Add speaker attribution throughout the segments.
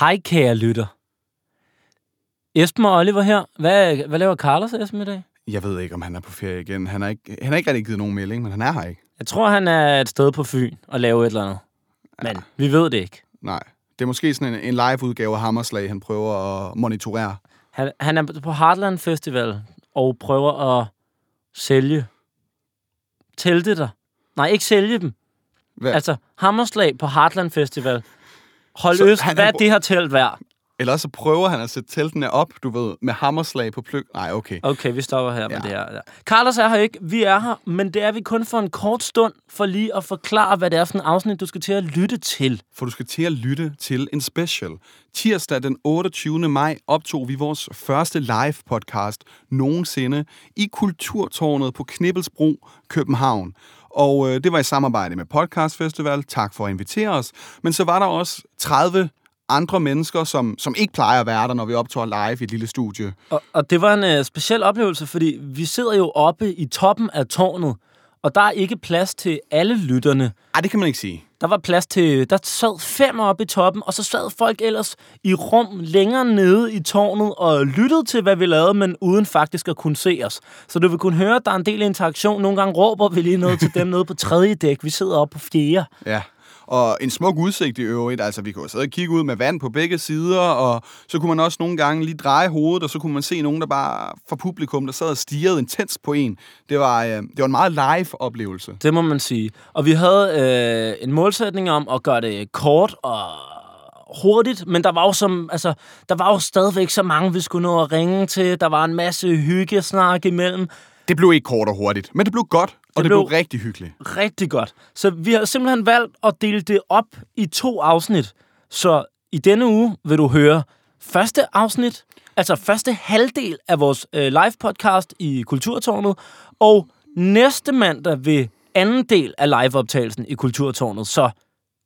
Speaker 1: Hej, kære lytter. Esben og Oliver her. Hvad, hvad laver Carlos Esben i dag?
Speaker 2: Jeg ved ikke, om han er på ferie igen. Han har ikke, han har ikke rigtig givet nogen melding, men han er her ikke.
Speaker 1: Jeg tror, han er et sted på Fyn og laver et eller andet. Men vi ved det ikke.
Speaker 2: Nej. Det er måske sådan en, en live-udgave af Hammerslag, han prøver at monitorere.
Speaker 1: Han, han er på Heartland Festival og prøver at sælge telte der. Nej, ikke sælge dem.
Speaker 2: Hvad?
Speaker 1: Altså, hammerslag på Heartland Festival. Hold
Speaker 2: Så
Speaker 1: øst,
Speaker 2: han er
Speaker 1: hvad er
Speaker 2: br-
Speaker 1: det her telt værd?
Speaker 2: Ellers så prøver han at sætte teltene op, du ved, med hammerslag på pløk. Nej, okay.
Speaker 1: Okay, vi stopper her ja. med
Speaker 2: Ja.
Speaker 1: det her. Ja. Carlos er her ikke. Vi er her, men det er vi kun for en kort stund, for lige at forklare, hvad det er for en afsnit, du skal til at lytte til.
Speaker 2: For du skal til at lytte til en special. Tirsdag den 28. maj optog vi vores første live-podcast nogensinde i Kulturtårnet på Knibbelsbro, København. Og øh, det var i samarbejde med Podcast Festival. Tak for at invitere os. Men så var der også 30 andre mennesker, som, som ikke plejer at være der, når vi optager live i et lille studie.
Speaker 1: Og, og det var en øh, speciel oplevelse, fordi vi sidder jo oppe i toppen af tårnet, og der er ikke plads til alle lytterne.
Speaker 2: Ej, det kan man ikke sige.
Speaker 1: Der var plads til, der sad fem oppe i toppen, og så sad folk ellers i rum længere nede i tårnet og lyttede til, hvad vi lavede, men uden faktisk at kunne se os. Så du vil kunne høre, at der er en del interaktion. Nogle gange råber vi lige noget til dem nede på tredje dæk. Vi sidder oppe på fjerde.
Speaker 2: Ja, og en smuk udsigt i øvrigt. Altså, vi kunne jo sidde og kigge ud med vand på begge sider, og så kunne man også nogle gange lige dreje hovedet, og så kunne man se nogen, der bare fra publikum, der sad og stirrede intens på en. Det var, øh, det var en meget live oplevelse.
Speaker 1: Det må man sige. Og vi havde øh, en målsætning om at gøre det kort og hurtigt, men der var jo, som, altså, der var jo stadigvæk så mange, vi skulle nå at ringe til. Der var en masse hyggesnak imellem.
Speaker 2: Det blev ikke kort og hurtigt, men det blev godt, og det, det blev...
Speaker 1: blev-
Speaker 2: blev rigtig hyggeligt.
Speaker 1: Rigtig godt. Så vi har simpelthen valgt at dele det op i to afsnit. Så i denne uge vil du høre første afsnit, altså første halvdel af vores øh, live podcast i Kulturtårnet, og næste mandag vil anden del af liveoptagelsen i Kulturtårnet. Så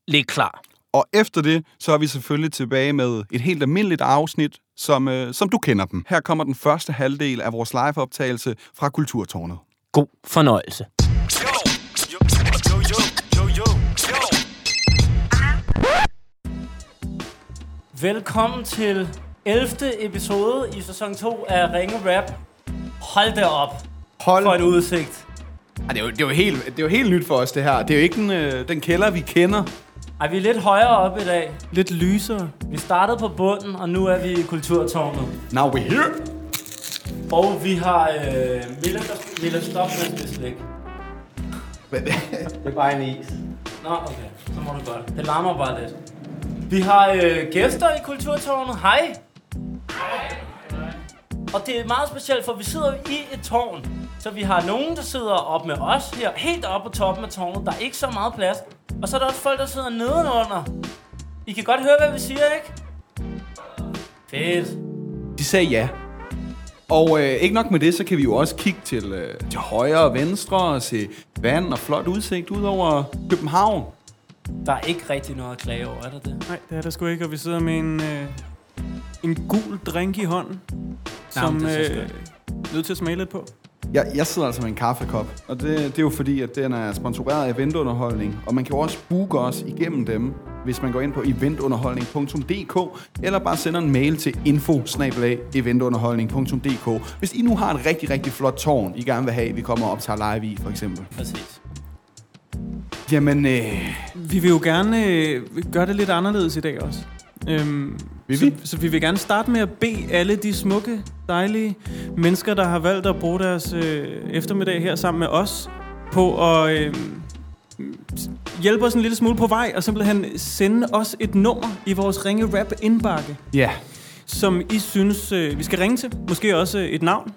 Speaker 1: læg klar.
Speaker 2: Og efter det, så er vi selvfølgelig tilbage med et helt almindeligt afsnit, som, øh, som du kender dem. Her kommer den første halvdel af vores live-optagelse fra Kulturtårnet.
Speaker 1: God fornøjelse. Velkommen til 11. episode i sæson 2 af Ringe Rap. Hold da op
Speaker 2: Hold
Speaker 1: for en udsigt.
Speaker 2: Ej, det, er jo, det, er jo helt, det er jo helt nyt for os, det her. Det er jo ikke den, øh, den kælder, vi kender.
Speaker 1: Ej, vi er lidt højere op i dag.
Speaker 2: Lidt lysere.
Speaker 1: Vi startede på bunden, og nu er vi i kulturtårnet.
Speaker 2: Now we're here.
Speaker 1: Og vi har øh, Mille, der- Mille Stop med det slik.
Speaker 3: Det er bare en is.
Speaker 1: Nå, okay. Så må du godt. Det larmer bare lidt. Vi har øh, gæster i kulturtårnet. Hej. Hej. Og det er meget specielt, for vi sidder jo i et tårn. Så vi har nogen, der sidder op med os her, helt oppe på toppen af tårnet. Der er ikke så meget plads. Og så er der også folk, der sidder nedenunder. I kan godt høre, hvad vi siger, ikke? Fedt.
Speaker 2: De sagde ja. Og øh, ikke nok med det, så kan vi jo også kigge til, øh, til højre og venstre og se vand og flot udsigt ud over København.
Speaker 1: Der er ikke rigtig noget at klage over, er der det?
Speaker 4: Nej, det er der sgu ikke, og vi sidder med en, øh, en gul drink i hånden, som
Speaker 1: men det er så
Speaker 4: øh, er nødt til at smage lidt på.
Speaker 2: Jeg, jeg sidder altså med en kaffekop, og det, det er jo fordi, at den er sponsoreret af eventunderholdning, og man kan jo også booke os igennem dem, hvis man går ind på eventunderholdning.dk, eller bare sender en mail til info eventunderholdning.dk, hvis I nu har et rigtig, rigtig flot tårn, I gerne vil have, vi kommer og optager live i, for eksempel.
Speaker 1: Præcis.
Speaker 2: Jamen, øh,
Speaker 4: Vi vil jo gerne øh, gøre det lidt anderledes i dag også. Øhm,
Speaker 2: Vil
Speaker 4: så,
Speaker 2: vi?
Speaker 4: så vi vil gerne starte med at bede alle de smukke, dejlige mennesker, der har valgt at bruge deres øh, eftermiddag her sammen med os, på at øh, hjælpe os en lille smule på vej, og simpelthen sende os et nummer i vores Ringe Rap indbakke,
Speaker 2: ja... Yeah.
Speaker 4: som I synes, øh, vi skal ringe til. Måske også øh, et navn.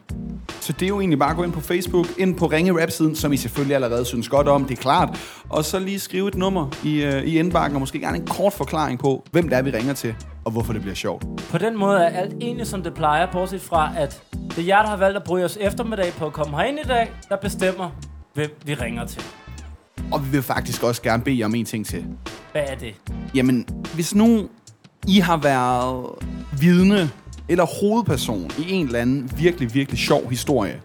Speaker 2: Så det er jo egentlig bare at gå ind på Facebook, ind på Ringe Rap-siden, som I selvfølgelig allerede synes godt om, det er klart. Og så lige skrive et nummer i, øh, i indbakken, og måske gerne en kort forklaring på, hvem det er, vi ringer til, og hvorfor det bliver sjovt.
Speaker 1: På den måde er alt egentlig, som det plejer, bortset fra, at det er jer, der har valgt at bruge jeres eftermiddag på at komme herind i dag, der bestemmer, hvem vi ringer til.
Speaker 2: Og vi vil faktisk også gerne bede jer om en ting til.
Speaker 1: Hvad er det?
Speaker 2: Jamen, hvis nu I har været vidne eller hovedperson i en eller anden virkelig, virkelig sjov historie,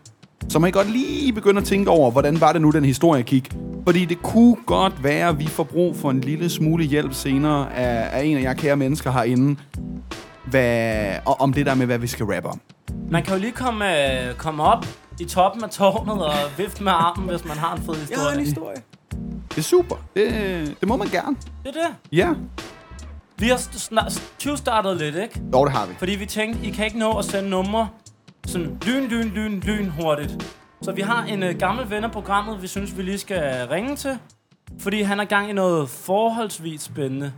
Speaker 2: så må I godt lige begynde at tænke over, hvordan var det nu, den historie gik? Fordi det kunne godt være, at vi får brug for en lille smule hjælp senere af, af en af jer kære mennesker herinde. Hvad, og om det der med, hvad vi skal rappe om.
Speaker 1: Man kan jo lige komme, øh, komme op i toppen af tårnet og vifte med armen, hvis man har en fed
Speaker 4: Jeg har en
Speaker 1: historie.
Speaker 4: historie.
Speaker 2: Det er super. Det, det må man gerne.
Speaker 1: Det er det.
Speaker 2: Ja.
Speaker 1: Vi har st- snart 20 startet lidt, ikke?
Speaker 2: Jo, det har vi.
Speaker 1: Fordi vi tænkte, I kan ikke nå at sende numre sådan lyn, lyn, lyn, lyn hurtigt. Så vi har en øh, gammel ven af programmet, vi synes, vi lige skal ringe til. Fordi han er gang i noget forholdsvis spændende.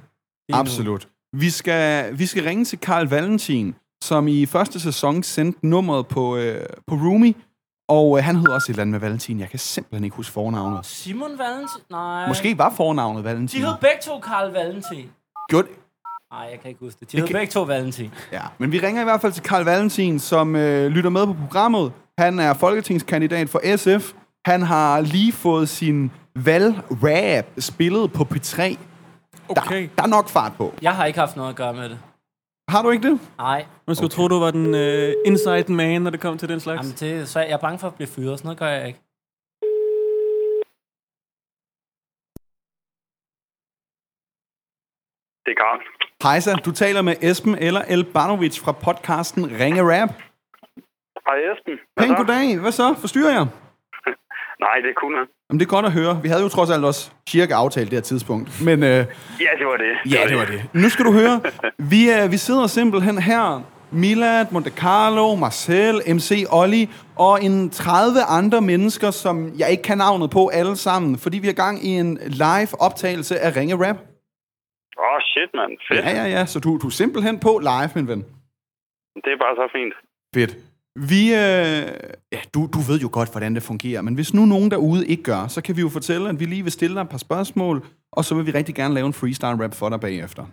Speaker 1: lige nu.
Speaker 2: Absolut. Vi skal, vi skal ringe til Karl Valentin, som i første sæson sendte nummeret på, øh, på Roomy. Og øh, han hedder også et eller andet med Valentin. Jeg kan simpelthen ikke huske fornavnet.
Speaker 1: Simon Valentin? Nej.
Speaker 2: Måske var fornavnet
Speaker 1: De
Speaker 2: Valentin.
Speaker 1: hed begge to Karl Valentin.
Speaker 2: Gjorde det?
Speaker 1: Nej, jeg kan ikke huske det. De hed begge to Valentin.
Speaker 2: Ja, men vi ringer i hvert fald til Karl Valentin, som øh, lytter med på programmet. Han er folketingskandidat for SF. Han har lige fået sin valgrap spillet på P3.
Speaker 4: Okay.
Speaker 2: Der er nok fart på.
Speaker 1: Jeg har ikke haft noget at gøre med det.
Speaker 2: Har du ikke det?
Speaker 1: Nej.
Speaker 4: Man skulle okay. tro, du var den øh, inside man, når det kom til den slags.
Speaker 1: Jamen, det, så er jeg er bange for at blive fyret. Sådan noget gør jeg ikke.
Speaker 5: Det er Karl.
Speaker 2: Hejsa, du taler med Esben eller Elbanovic fra podcasten Ringe Rap.
Speaker 5: Hej Esben. Hvad
Speaker 2: Pæn
Speaker 5: så?
Speaker 2: goddag. Hvad så? Forstyrrer jeg?
Speaker 5: Nej, det kunne jeg.
Speaker 2: Jamen, det er godt at høre. Vi havde jo trods alt også cirka aftalt det her tidspunkt. Men øh,
Speaker 5: Ja, det var det.
Speaker 2: Ja, det var det. Nu skal du høre. Vi, øh, vi sidder simpelthen her. Milad, Monte Carlo, Marcel, MC Olli og en 30 andre mennesker, som jeg ikke kan navnet på alle sammen, fordi vi har gang i en live optagelse af Ringe Rap.
Speaker 5: Åh, oh, shit, mand. Fedt.
Speaker 2: Ja, ja, ja. Så du, du er simpelthen på live, min ven.
Speaker 5: Det er bare så fint.
Speaker 2: Fedt. Vi, øh, ja, du, du ved jo godt, hvordan det fungerer, men hvis nu nogen derude ikke gør, så kan vi jo fortælle, at vi lige vil stille dig et par spørgsmål, og så vil vi rigtig gerne lave en freestyle rap for dig bagefter.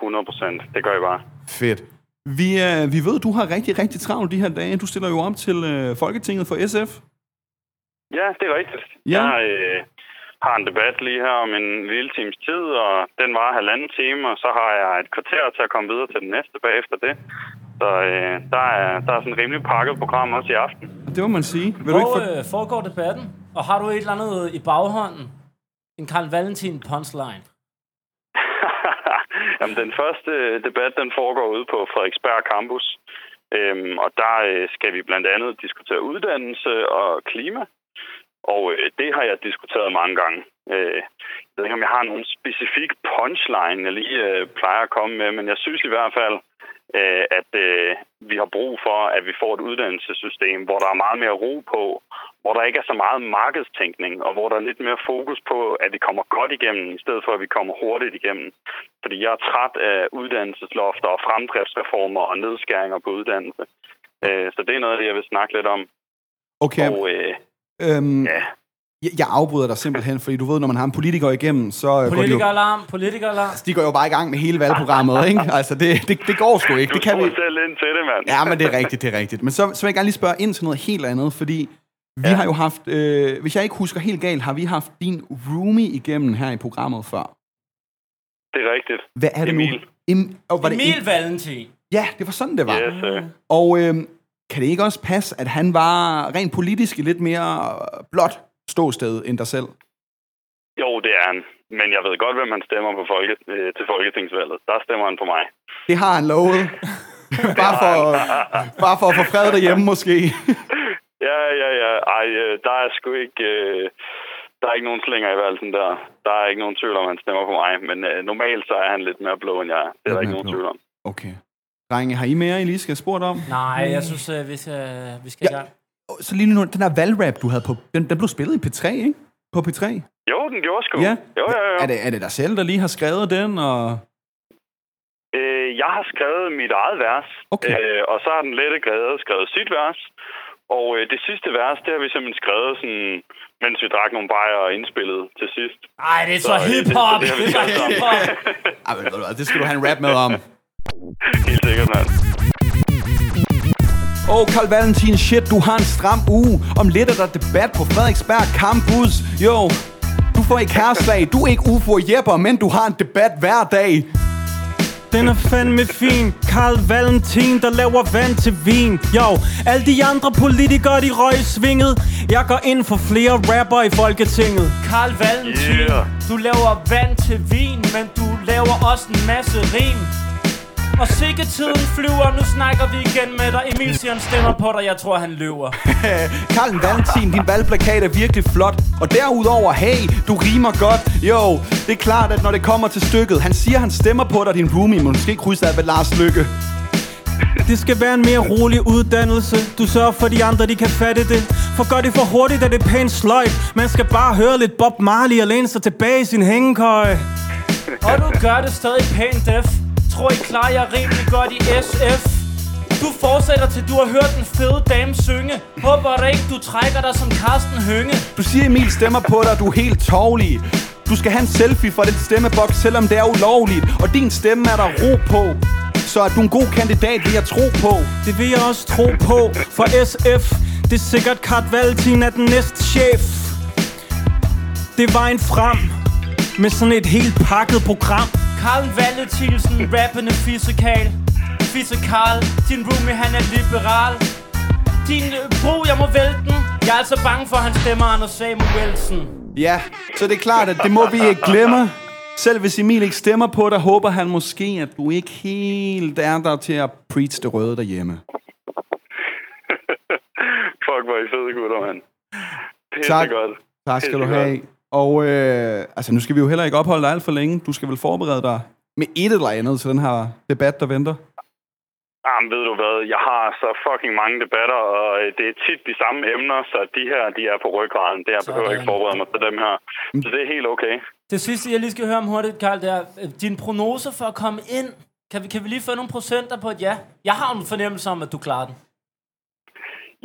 Speaker 5: 100 procent. Det gør jeg bare.
Speaker 2: Fedt. Vi, øh, vi ved, du har rigtig, rigtig travlt de her dage. Du stiller jo op til øh, Folketinget for SF.
Speaker 5: Ja, det er rigtigt.
Speaker 2: Ja.
Speaker 5: Jeg øh, har en debat lige her om en lille times tid, og den var halvanden time, og så har jeg et kvarter til at komme videre til den næste bagefter det. Så øh, der, er, der er sådan et rimelig pakket program også i aften.
Speaker 2: Og Det må man sige. Vil du ikke
Speaker 1: Hvor
Speaker 2: for...
Speaker 1: øh, foregår debatten? Og har du et eller andet i baghånden? En Karl Valentin punchline.
Speaker 5: Jamen, den første øh, debat, den foregår ude på Frederiksberg Campus. Øhm, og der øh, skal vi blandt andet diskutere uddannelse og klima. Og øh, det har jeg diskuteret mange gange. Øh, jeg ved ikke, om jeg har nogen specifik punchline, jeg lige øh, plejer at komme med, men jeg synes i hvert fald, øh, at øh, vi har brug for, at vi får et uddannelsessystem, hvor der er meget mere ro på, hvor der ikke er så meget markedstænkning, og hvor der er lidt mere fokus på, at vi kommer godt igennem, i stedet for, at vi kommer hurtigt igennem. Fordi jeg er træt af uddannelseslofter og fremdriftsreformer og nedskæringer på uddannelse. Øh, Så det er noget af det, jeg vil snakke lidt om.
Speaker 2: Okay,
Speaker 5: Og øh,
Speaker 2: øhm,
Speaker 5: ja,
Speaker 2: jeg, jeg afbryder dig simpelthen, fordi du ved, når man har en politiker igennem, så øh, går de, jo,
Speaker 1: Politikeralarm, politikeralarm.
Speaker 2: de går jo bare i gang med hele valgprogrammet, ikke? Altså, det, det, det går sgu ikke.
Speaker 5: du
Speaker 2: Det kan
Speaker 5: tror
Speaker 2: vi...
Speaker 5: selv ind til det, mand.
Speaker 2: Ja, men det er rigtigt, det er rigtigt. Men så, så vil jeg gerne lige spørge ind til noget helt andet, fordi vi ja. har jo haft, øh, hvis jeg ikke husker helt galt, har vi haft din roomie igennem her i programmet før.
Speaker 5: Det er rigtigt.
Speaker 2: Hvad er det
Speaker 5: Emil.
Speaker 2: nu? Em, og var det
Speaker 1: Emil Valentin.
Speaker 2: Ja, det var sådan, det var.
Speaker 5: Yes, øh.
Speaker 2: Og øh, kan det ikke også passe, at han var rent politisk et lidt mere øh, blåt ståsted end dig selv?
Speaker 5: Jo, det er han. Men jeg ved godt, hvem han stemmer på folke, øh, til folketingsvalget. Der stemmer han på mig.
Speaker 2: Det har han lovet. bare, for, bare for at få fred derhjemme, måske.
Speaker 5: Ja, ja, ja. Ej, øh, der er sgu ikke... Øh, der er ikke nogen slinger i valsen der. Der er ikke nogen tvivl om, at han stemmer på mig. Men øh, normalt så er han lidt mere blå, end jeg er. Det er
Speaker 2: Lidt
Speaker 5: der ikke
Speaker 2: mere
Speaker 5: nogen
Speaker 2: blå.
Speaker 5: tvivl om.
Speaker 2: okay. Drenge, har I mere, I lige skal have spurgt om?
Speaker 1: Nej, jeg synes, øh, vi skal, vi skal i
Speaker 2: Mm. Ja.
Speaker 1: gang.
Speaker 2: Så lige nu, den der valgrap, du havde på, den, den blev spillet i P3, ikke? På P3?
Speaker 5: Jo, den gjorde sgu.
Speaker 2: Ja.
Speaker 5: Jo, jo, jo.
Speaker 2: Er det, er det dig selv, der lige har skrevet den? Og...
Speaker 5: Øh, jeg har skrevet mit eget vers,
Speaker 2: Okay.
Speaker 5: øh, og så har den lette græde skrevet sit vers. Og øh, det sidste vers, det har vi simpelthen skrevet, sådan, mens vi drak nogle bajer og indspillede til sidst.
Speaker 1: Nej, det er så
Speaker 5: øh, det-
Speaker 1: hiphop.
Speaker 5: det
Speaker 1: Det
Speaker 5: har vi
Speaker 1: er så
Speaker 5: gjort sammen.
Speaker 1: hiphop.
Speaker 2: Ej, men ved du hvad, det skal du have en rap med om.
Speaker 5: Helt sikkert, mand.
Speaker 2: Åh, oh, Carl Valentin, shit, du har en stram uge. Om lidt er der debat på Frederiksberg Campus. Jo, du får ikke kæreste Du er ikke ufo Jepper, men du har en debat hver dag.
Speaker 4: den er fandme fin Karl Valentin, der laver vand til vin Jo, alle de andre politikere, de røg i svinget Jeg går ind for flere rapper i Folketinget Karl Valentin,
Speaker 5: Yeah.
Speaker 4: du laver vand til vin Men du laver også en masse rim og sikke tiden flyver, nu snakker vi igen med dig Emil siger, han stemmer på dig, jeg tror han løber
Speaker 2: Karl Valentin, din valgplakat er virkelig flot Og derudover, hey, du rimer godt Jo, det er klart, at når det kommer til stykket Han siger, han stemmer på dig, din roomie Men måske krydser af ved Lars Lykke
Speaker 4: Det skal være en mere rolig uddannelse Du sørger for de andre, de kan fatte det For gør det for hurtigt, er det pænt sløjt Man skal bare høre lidt Bob Marley og læne sig tilbage i sin hængekøje Og du gør det stadig pænt, F Tror I klar, jeg er rimelig godt i SF Du fortsætter til du har hørt den fede dame synge Håber da ikke, du trækker dig som Carsten Hønge
Speaker 2: Du siger, Emil stemmer på dig, du er helt tovlig Du skal have en selfie fra den stemmeboks, selvom det er ulovligt Og din stemme er der ro på Så er du en god kandidat, vil jeg tro på
Speaker 4: Det vil jeg også tro på for SF. Det er sikkert Kart Valentin er den næste chef. Det er vejen frem med sådan et helt pakket program. Karl Valentinsen, rappende fysikal. Fysikal, din roomie han er liberal. Din bro, jeg må vælte den. Jeg er altså bange for, at han stemmer Anders Samuelsen.
Speaker 2: Ja, så det er klart, at det må vi ikke glemme selv hvis Emil ikke stemmer på dig, håber han måske, at du ikke helt er der til at preach det røde derhjemme.
Speaker 5: Fuck, hvor er I fede gutter, mand.
Speaker 2: Tak.
Speaker 5: Pissegodt.
Speaker 2: Tak skal du
Speaker 5: Helt sikkert.
Speaker 2: have. Og øh, altså, nu skal vi jo heller ikke opholde dig alt for længe. Du skal vel forberede dig med et eller andet til den her debat, der venter.
Speaker 5: Jamen, ved du hvad, jeg har så fucking mange debatter, og øh, det er tit de samme emner, så de her, de er på ryggraden. Det jeg behøver ikke forberede mig til dem her. Så det er helt okay.
Speaker 1: Det sidste, jeg lige skal høre om hurtigt, Karl, det er øh, din prognose for at komme ind. Kan vi, kan vi lige få nogle procenter på et ja? Jeg har en fornemmelse om, at du klarer den.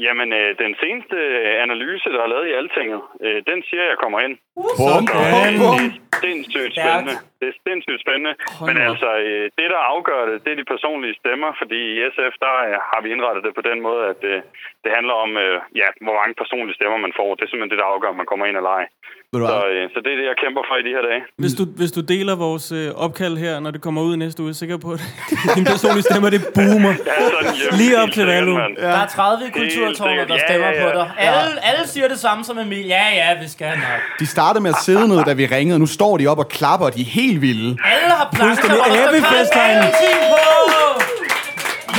Speaker 5: Jamen, øh, den seneste øh, analyse, der er lavet i Altinget, øh, den siger, at jeg kommer ind. øh,
Speaker 2: Bum, bum,
Speaker 5: Det er
Speaker 2: bum.
Speaker 5: sindssygt spændende. Det er sindssygt spændende. Men altså, øh, det der afgør det, det er de personlige stemmer, fordi i SF, der øh, har vi indrettet det på den måde, at øh, det handler om, øh, ja, hvor mange personlige stemmer man får. Det er simpelthen det, der afgør, om man kommer ind eller ej.
Speaker 2: Ved du
Speaker 5: Så,
Speaker 2: hvad?
Speaker 5: øh, så det er det, jeg kæmper for i de her dage.
Speaker 4: Hvis du, hvis du deler vores øh, opkald her, når det kommer ud i næste uge, er jeg sikker på, at din personlige stemmer, det boomer.
Speaker 5: Ja, sådan hjemme.
Speaker 4: Lige op til
Speaker 5: Helt sikkert,
Speaker 4: Valum.
Speaker 5: mand.
Speaker 1: Ja. Der er 30
Speaker 5: sikkert.
Speaker 1: kulturtårner, der
Speaker 5: Ja,
Speaker 1: stemmer
Speaker 5: ja, ja.
Speaker 1: på dig. Alle, alle siger det samme som Emil. Ja, ja, vi skal nok.
Speaker 2: De startede med at sidde ned, da vi ringede. Nu står de op og klapper, og de er helt vilde.
Speaker 1: Alle har planker,
Speaker 4: Fuldstændig
Speaker 1: og der
Speaker 4: happy
Speaker 1: står Carl
Speaker 4: festegn.
Speaker 1: Valentin på!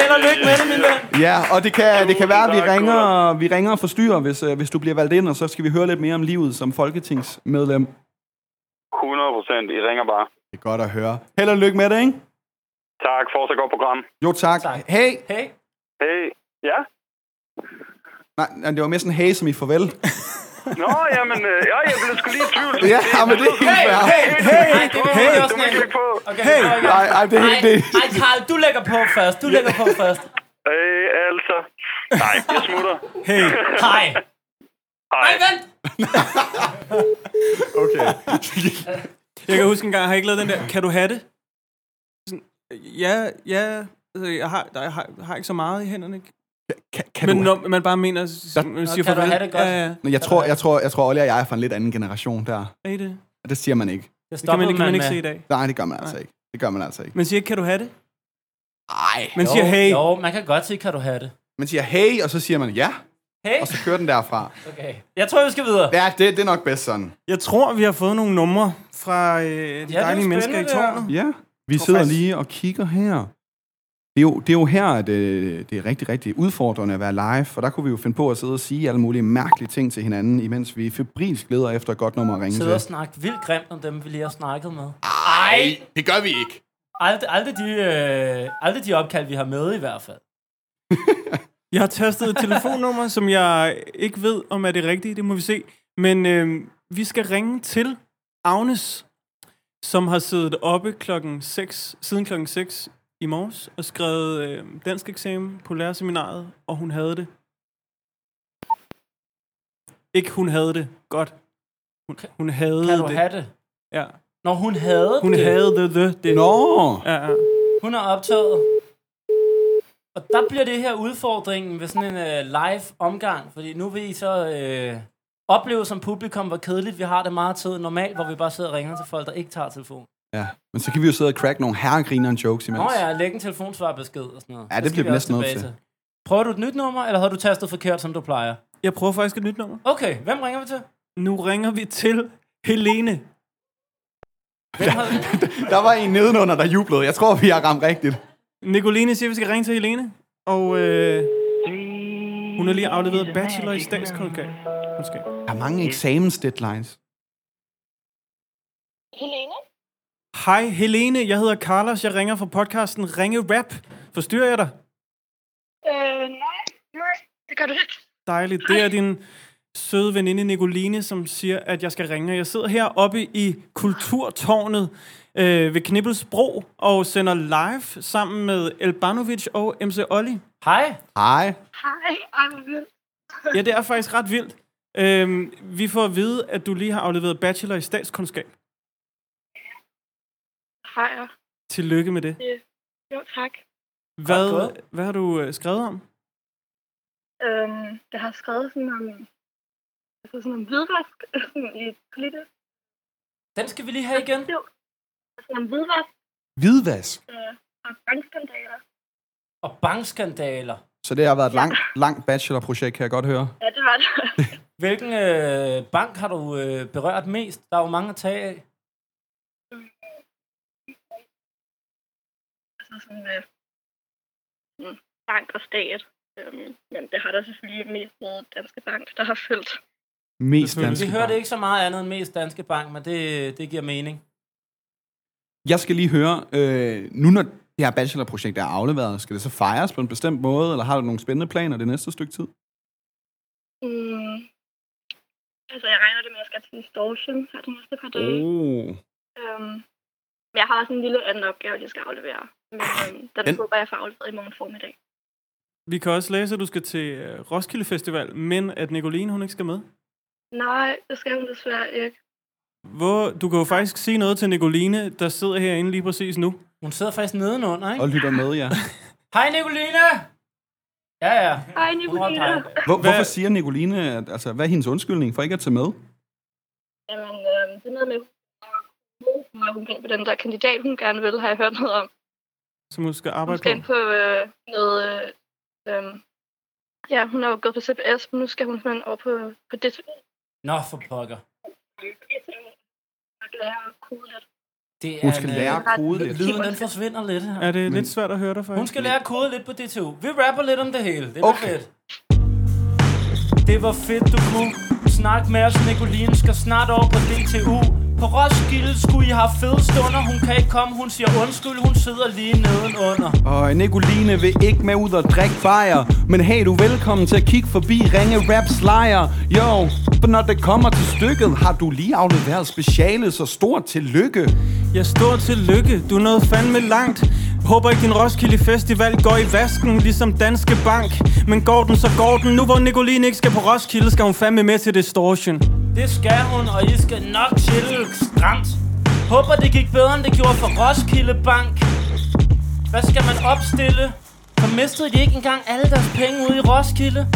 Speaker 1: Held og lykke med det, min ven.
Speaker 2: Ja, og det kan, det kan være, at vi
Speaker 5: Tak,
Speaker 2: ringer, vi ringer og forstyrrer, hvis, øh, hvis du bliver valgt ind, og så skal vi høre lidt mere om livet som folketingsmedlem.
Speaker 5: 100 procent. I ringer bare.
Speaker 2: Det er godt at høre. Held og lykke med det, ikke?
Speaker 5: Tak. Fortsat godt program.
Speaker 2: Jo, tak.
Speaker 1: Tak.
Speaker 2: Hey!
Speaker 1: Hey.
Speaker 5: Hey. Ja?
Speaker 2: Nej, nej, det var mere sådan hey, som i farvel.
Speaker 5: Nå, jamen, øh, ja, jeg blev sgu lige i tvivl.
Speaker 2: ja, ah, men det er helt
Speaker 1: Hey,
Speaker 2: fair.
Speaker 1: hey, hey,
Speaker 5: Hey,
Speaker 1: det er
Speaker 5: hey,
Speaker 1: også
Speaker 5: du må
Speaker 1: en-
Speaker 5: klikke på.
Speaker 1: Okay, hey,
Speaker 2: Nej, nej, det er helt det.
Speaker 1: Ej, Karl, du lægger på først. Du lægger på først.
Speaker 5: Øh, altså. Nej, jeg smutter.
Speaker 1: Hej.
Speaker 5: Hej.
Speaker 1: Hej, vent.
Speaker 4: Jeg kan huske en gang, har jeg ikke lavet den der, kan du have det? Sådan, øh, ja, ja, altså, jeg har, der, jeg har, jeg har ikke så meget i hænderne.
Speaker 2: Kan, kan
Speaker 4: Men
Speaker 2: du-
Speaker 4: når man bare mener, s-
Speaker 1: kan
Speaker 4: man siger
Speaker 1: du
Speaker 4: farvel.
Speaker 1: have det godt?
Speaker 4: Ja, ja.
Speaker 2: Men jeg tror, jeg tror, jeg tror, Olli og jeg er fra en lidt anden generation der.
Speaker 4: Er I det?
Speaker 2: Det siger man ikke.
Speaker 1: Det
Speaker 4: Det kan man,
Speaker 1: stoppede
Speaker 4: det kan man
Speaker 1: man
Speaker 4: ikke se
Speaker 1: med.
Speaker 4: i dag.
Speaker 2: Nej, det gør man altså ikke. Det gør man altså ikke.
Speaker 4: Man siger ikke, kan du have det?
Speaker 2: Nej.
Speaker 4: Man siger, hey,
Speaker 1: Jo, man kan godt se, kan du have det.
Speaker 2: Man siger hey, og så siger man ja,
Speaker 1: Hey,
Speaker 2: og så kører den derfra.
Speaker 1: okay. Jeg tror, vi skal videre.
Speaker 2: Ja, det, det er nok bedst sådan.
Speaker 4: jeg tror, vi har fået nogle numre fra øh, de
Speaker 1: er
Speaker 4: dejlige
Speaker 1: spændende,
Speaker 4: mennesker i
Speaker 1: det her.
Speaker 4: tårnet.
Speaker 2: Ja. Vi sidder lige og kigger her. Det er jo, det er jo her, at øh, det er rigtig, rigtig udfordrende at være live, og der kunne vi jo finde på at sidde og sige alle mulige mærkelige ting til hinanden, imens vi febrilsk leder efter et godt nummer at ringe
Speaker 1: Sidder og
Speaker 2: til.
Speaker 1: snakke vildt grimt om dem, vi lige har snakket med. Ej!
Speaker 2: Det gør vi ikke.
Speaker 1: Aldrig, aldrig, de, øh, aldrig de opkald, vi har med i hvert fald.
Speaker 4: Jeg har tastet et telefonnummer, som jeg ikke ved, om er det rigtige. Det må vi se. Men øh, vi skal ringe til Agnes, som har siddet oppe klokken 6, siden klokken 6 i morges og skrevet øh, dansk eksamen på lærerseminaret, og hun havde det. Ikke hun havde det. Godt. Hun, hun havde
Speaker 1: Kan du
Speaker 4: det.
Speaker 1: have det?
Speaker 4: Ja.
Speaker 1: Når hun havde
Speaker 4: Hun
Speaker 1: det.
Speaker 4: havde det. det, det.
Speaker 2: Nå!
Speaker 4: Ja, ja.
Speaker 1: Hun er optaget. Og der bliver det her udfordringen ved sådan en øh, live omgang, fordi nu vil I så øh, opleve som publikum, hvor kedeligt vi har det meget tid normalt, hvor vi bare sidder og ringer til folk, der ikke tager telefonen.
Speaker 2: Ja. Men så kan vi jo sidde og crack nogle herregrineren jokes imens.
Speaker 1: Nå ja, læg en telefonsvarbesked og sådan noget.
Speaker 2: Ja,
Speaker 1: Så
Speaker 2: det
Speaker 1: skal
Speaker 2: bliver
Speaker 1: vi
Speaker 2: vi
Speaker 1: også
Speaker 2: næsten nødt
Speaker 1: tilbage
Speaker 2: til.
Speaker 1: Prøver du et nyt nummer, eller har du tastet forkert, som du plejer?
Speaker 4: Jeg prøver faktisk et nyt nummer.
Speaker 1: Okay, hvem ringer vi til?
Speaker 4: Nu ringer vi til Helene.
Speaker 1: Hvem har...
Speaker 2: Der var en nedenunder, der jublede. Jeg tror, vi har ramt rigtigt.
Speaker 4: Nicoline siger, at vi skal ringe til Helene. Og øh, hun har lige afleveret bachelor i statskundskab. Måske.
Speaker 2: Der er mange eksamens deadlines.
Speaker 6: Helene?
Speaker 4: Hej Helene, jeg hedder Carlos. Jeg ringer fra podcasten Ringe Rap. Forstyrrer jeg dig?
Speaker 6: Øh, nej, nej, det gør du ikke.
Speaker 4: Dejligt. Det er din søde veninde Nicoline, som siger, at jeg skal ringe. Jeg sidder heroppe i Kulturtårnet øh, ved Knibbelsbro og sender live sammen med Elbanovic og MC Olli.
Speaker 1: Hej.
Speaker 2: Hej.
Speaker 6: Hej, ej, hvor vildt.
Speaker 4: Ja, det er faktisk ret vildt. Øhm, vi får at vide, at du lige har afleveret bachelor i statskundskab.
Speaker 6: Hej, ja.
Speaker 4: Tillykke med det.
Speaker 6: jo, tak.
Speaker 4: Hvad,
Speaker 1: gået.
Speaker 4: hvad har du øh, skrevet om?
Speaker 6: Øhm, jeg har skrevet sådan om, altså sådan om hvidvask sådan i politisk
Speaker 1: Den skal vi lige have igen.
Speaker 6: liv. Altså om hvidvask
Speaker 2: Hvidvask.
Speaker 6: øh, og bankskandaler.
Speaker 1: Og bankskandaler.
Speaker 2: Så det har været et langt, langt bachelorprojekt, kan jeg godt høre.
Speaker 6: Ja, det var det.
Speaker 1: Hvilken øh, bank har du øh, berørt mest? Der er jo mange at tage af.
Speaker 6: altså sådan øh, mm, bank og stat. Øhm, men det har der selvfølgelig mest været Danske Bank, der har fyldt.
Speaker 2: Mest
Speaker 4: Selvfølgelig.
Speaker 2: dansk.
Speaker 1: Vi hørte ikke så meget andet end mest Danske Bank, men det, det giver mening.
Speaker 2: Jeg skal lige høre, øh, nu når det her bachelorprojekt er afleveret, skal det så fejres på en bestemt måde, eller har du nogle spændende planer det næste stykke tid?
Speaker 6: Mm. Altså, jeg regner det med, at jeg skal til distortion her de næste par dage.
Speaker 2: Oh.
Speaker 6: Øhm, men jeg har også en lille anden opgave, jeg skal aflevere. Men øhm, den,
Speaker 2: Den-
Speaker 6: den håber jeg får afleveret i morgen formiddag.
Speaker 4: Vi kan også læse, at du skal til øh, Roskilde Festival, men at Nicoline hun ikke skal med.
Speaker 6: Nej, det skal hun desværre ikke.
Speaker 4: Hvor, du kan jo faktisk sige noget til Nicoline, der sidder herinde lige præcis nu.
Speaker 1: Hun sidder faktisk nedenunder, ikke?
Speaker 2: Og lytter med, ja.
Speaker 1: Hej, Nicoline! Ja, ja.
Speaker 6: Hej,
Speaker 1: Hun holdt
Speaker 6: Nicoline.
Speaker 1: dig.
Speaker 2: Hvor, hvorfor
Speaker 4: Hvad-
Speaker 2: siger Nicoline, at, altså, hvad er hendes undskyldning for ikke at tage med?
Speaker 6: Jamen, øhm, det er noget med, at hun kan på den der kandidat, hun gerne vil, har jeg hørt noget om.
Speaker 4: Som hun skal
Speaker 6: Hun
Speaker 4: arbejde
Speaker 6: skal ind
Speaker 4: på.
Speaker 6: på øh, noget... Øh, øhm, ja, hun har jo gået på CBS, men nu skal hun simpelthen over på, på det.
Speaker 1: Nå, for pokker.
Speaker 6: Og lære at kode lidt.
Speaker 1: Det er
Speaker 2: Hun skal
Speaker 1: en, øh,
Speaker 2: lære at kode lidt.
Speaker 1: Lyden, den forsvinder lidt her.
Speaker 4: Er det men... lidt svært at høre dig faktisk?
Speaker 1: Hun skal lære at kode lidt på DTU. Vi rapper lidt om det hele. Det var
Speaker 2: Okay.
Speaker 1: okay. fedt. Det var fedt, du kunne snakke med os. Nicoline skal snart over på DTU. På Roskilde skulle I have fede stunder. Hun kan ikke komme. Hun siger undskyld. Hun sidder lige nedenunder.
Speaker 2: Og Nicoline vil ikke med ud og drikke bajer Men hey, du er velkommen til at kigge forbi Ringe Raps Lejr Jo, for når det kommer til stykket Har du lige afleveret speciale, så stort tillykke
Speaker 4: Ja, stor tillykke. Du nåede fandme langt. Håber ikke din Roskilde Festival går i vasken, ligesom Danske Bank. Men går den, så går den. Nu hvor Nicoline ikke skal på Roskilde, skal hun fandme med til Distortion.
Speaker 1: Det skal hun, og I skal nok chille stramt. Håber, det gik bedre, end det gjorde for Roskilde Bank. Hvad skal man opstille? For mistede de ikke engang alle deres penge ude i Roskilde?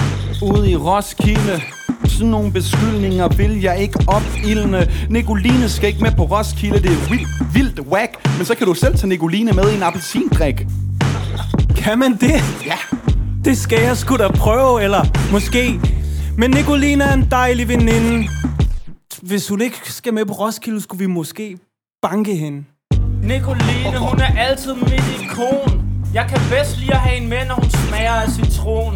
Speaker 2: Ude i Roskilde sådan nogle beskyldninger vil jeg ikke opildne Nicoline skal ikke med på Roskilde Det er vildt, vildt whack Men så kan du selv tage Nicoline med i en appelsindrik
Speaker 4: Kan man det?
Speaker 2: Ja,
Speaker 4: Det skal jeg sgu da prøve, eller måske. Men Nicoline er en dejlig veninde. Hvis hun ikke skal med på Roskilde, skulle vi måske banke hende.
Speaker 1: Nicoline, hun er altid mit ikon. Jeg kan bedst lide at have en med, når hun smager af citron.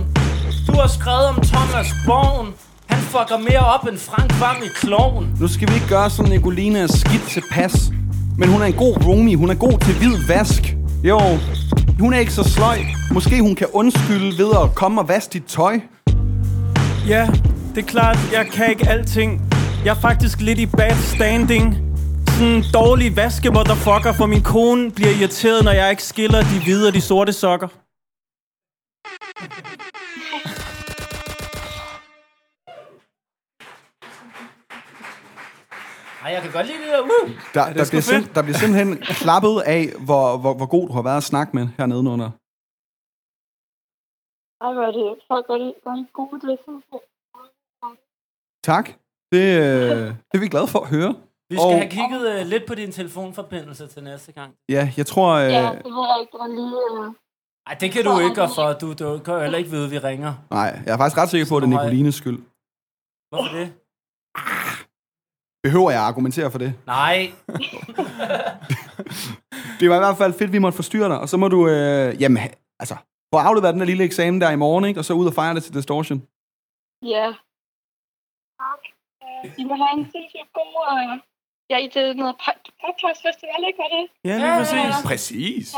Speaker 1: Du har skrevet om Thomas Born. Han fucker mere op end Frank Vam i kloven.
Speaker 2: nu skal vi ikke gøre sådan Nicoline er skidt tilpas Men hun er en god roomie, hun er god til hvid vask Jo, hun er ikke så sløj Måske hun kan undskylde ved at komme og vaske dit tøj
Speaker 4: Ja, det er klart, jeg kan ikke alting. Jeg er faktisk lidt i bad standing. Sådan en dårlig vaske, motherfucker, for min kone bliver irriteret, når jeg ikke skiller de hvide og de sorte sokker.
Speaker 1: Ej, jeg kan godt lide det der. uh. Woo!
Speaker 2: Der, der, bliver, sim- der bliver simpelthen klappet af, hvor, hvor, hvor god du har været at snakke med her nedenunder.
Speaker 6: Ej, hvor er det. Folk er lige, er lige gode til det.
Speaker 2: Tak. Det, øh, det er vi glade for at høre.
Speaker 1: Vi Vi skal
Speaker 2: Og-
Speaker 1: og... have kigget øh, lidt på din telefonforbindelse til næste gang.
Speaker 2: Ja, jeg tror... Øh,
Speaker 7: Ja, det ved jeg ikke, det var lige... Øh,
Speaker 1: Ej, det kan du ikke gøre for. Du, du kan jo heller ikke vide, at vi ringer.
Speaker 2: Nej, jeg er faktisk ret sikker på, at det er Nicolines skyld.
Speaker 1: Hvorfor det?
Speaker 2: Behøver jeg at argumentere for det?
Speaker 1: Nej.
Speaker 2: Det var i hvert fald fedt, vi måtte forstyrre dig. Og så må du... Øh, jamen, ha- altså... Få afleveret den der lille eksamen der i morgen, ikke? Og så ud og fejre det til Distortion.
Speaker 7: ja. Øh, I må have en sindssygt god... Øh, ja, I det noget pod- podcastfestival, ikke? Var det?
Speaker 4: Ja, lige præcis.
Speaker 8: Præcis.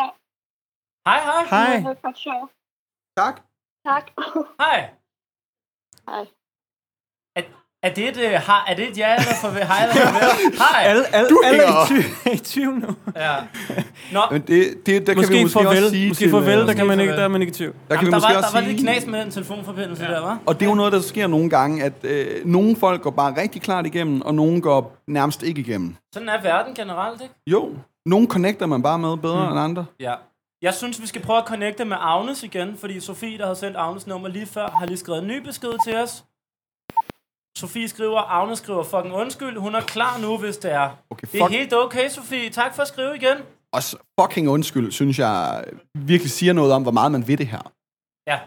Speaker 1: Hej, hej.
Speaker 4: Hej.
Speaker 7: Det var ret sjovt.
Speaker 2: Tak.
Speaker 7: Tak.
Speaker 1: Hej.
Speaker 7: Hej.
Speaker 1: Er, er det et, øh, har, er det et ja eller for, hej eller farvel? Hej.
Speaker 4: Alle, alle, alle er i tvivl, i tvivl nu.
Speaker 1: Ja. Nå,
Speaker 2: Men det, det der kan vi
Speaker 4: Måske
Speaker 2: måske
Speaker 4: farvel.
Speaker 2: også sige
Speaker 4: Måske
Speaker 2: til,
Speaker 4: farvel,
Speaker 2: øh,
Speaker 4: der, kan man ikke,
Speaker 1: farvel.
Speaker 4: der er man ikke i tvivl.
Speaker 2: der, kan vi
Speaker 1: Jamen, der,
Speaker 2: måske
Speaker 1: var,
Speaker 2: også
Speaker 1: der var lidt
Speaker 2: sige-
Speaker 1: knas med den telefonforbindelse ja. der, var.
Speaker 2: Og det er jo noget, der sker nogle gange, at øh, nogle folk går bare rigtig klart igennem, og nogle går nærmest ikke igennem.
Speaker 1: Sådan er verden generelt, ikke?
Speaker 2: Jo, nogle connecter man bare med bedre mm. end andre.
Speaker 1: Ja. Jeg synes, vi skal prøve at connecte med Agnes igen, fordi Sofie, der har sendt Agnes nummer lige før, har lige skrevet en ny besked til os. Sofie skriver, Agnes skriver fucking undskyld. Hun er klar nu, hvis det er.
Speaker 2: Okay,
Speaker 1: Det er
Speaker 2: fuck,
Speaker 1: helt okay, Sofie. Tak for at skrive igen.
Speaker 2: og s- fucking undskyld, synes jeg øh, virkelig siger noget om, hvor meget man ved det her.
Speaker 1: Ja.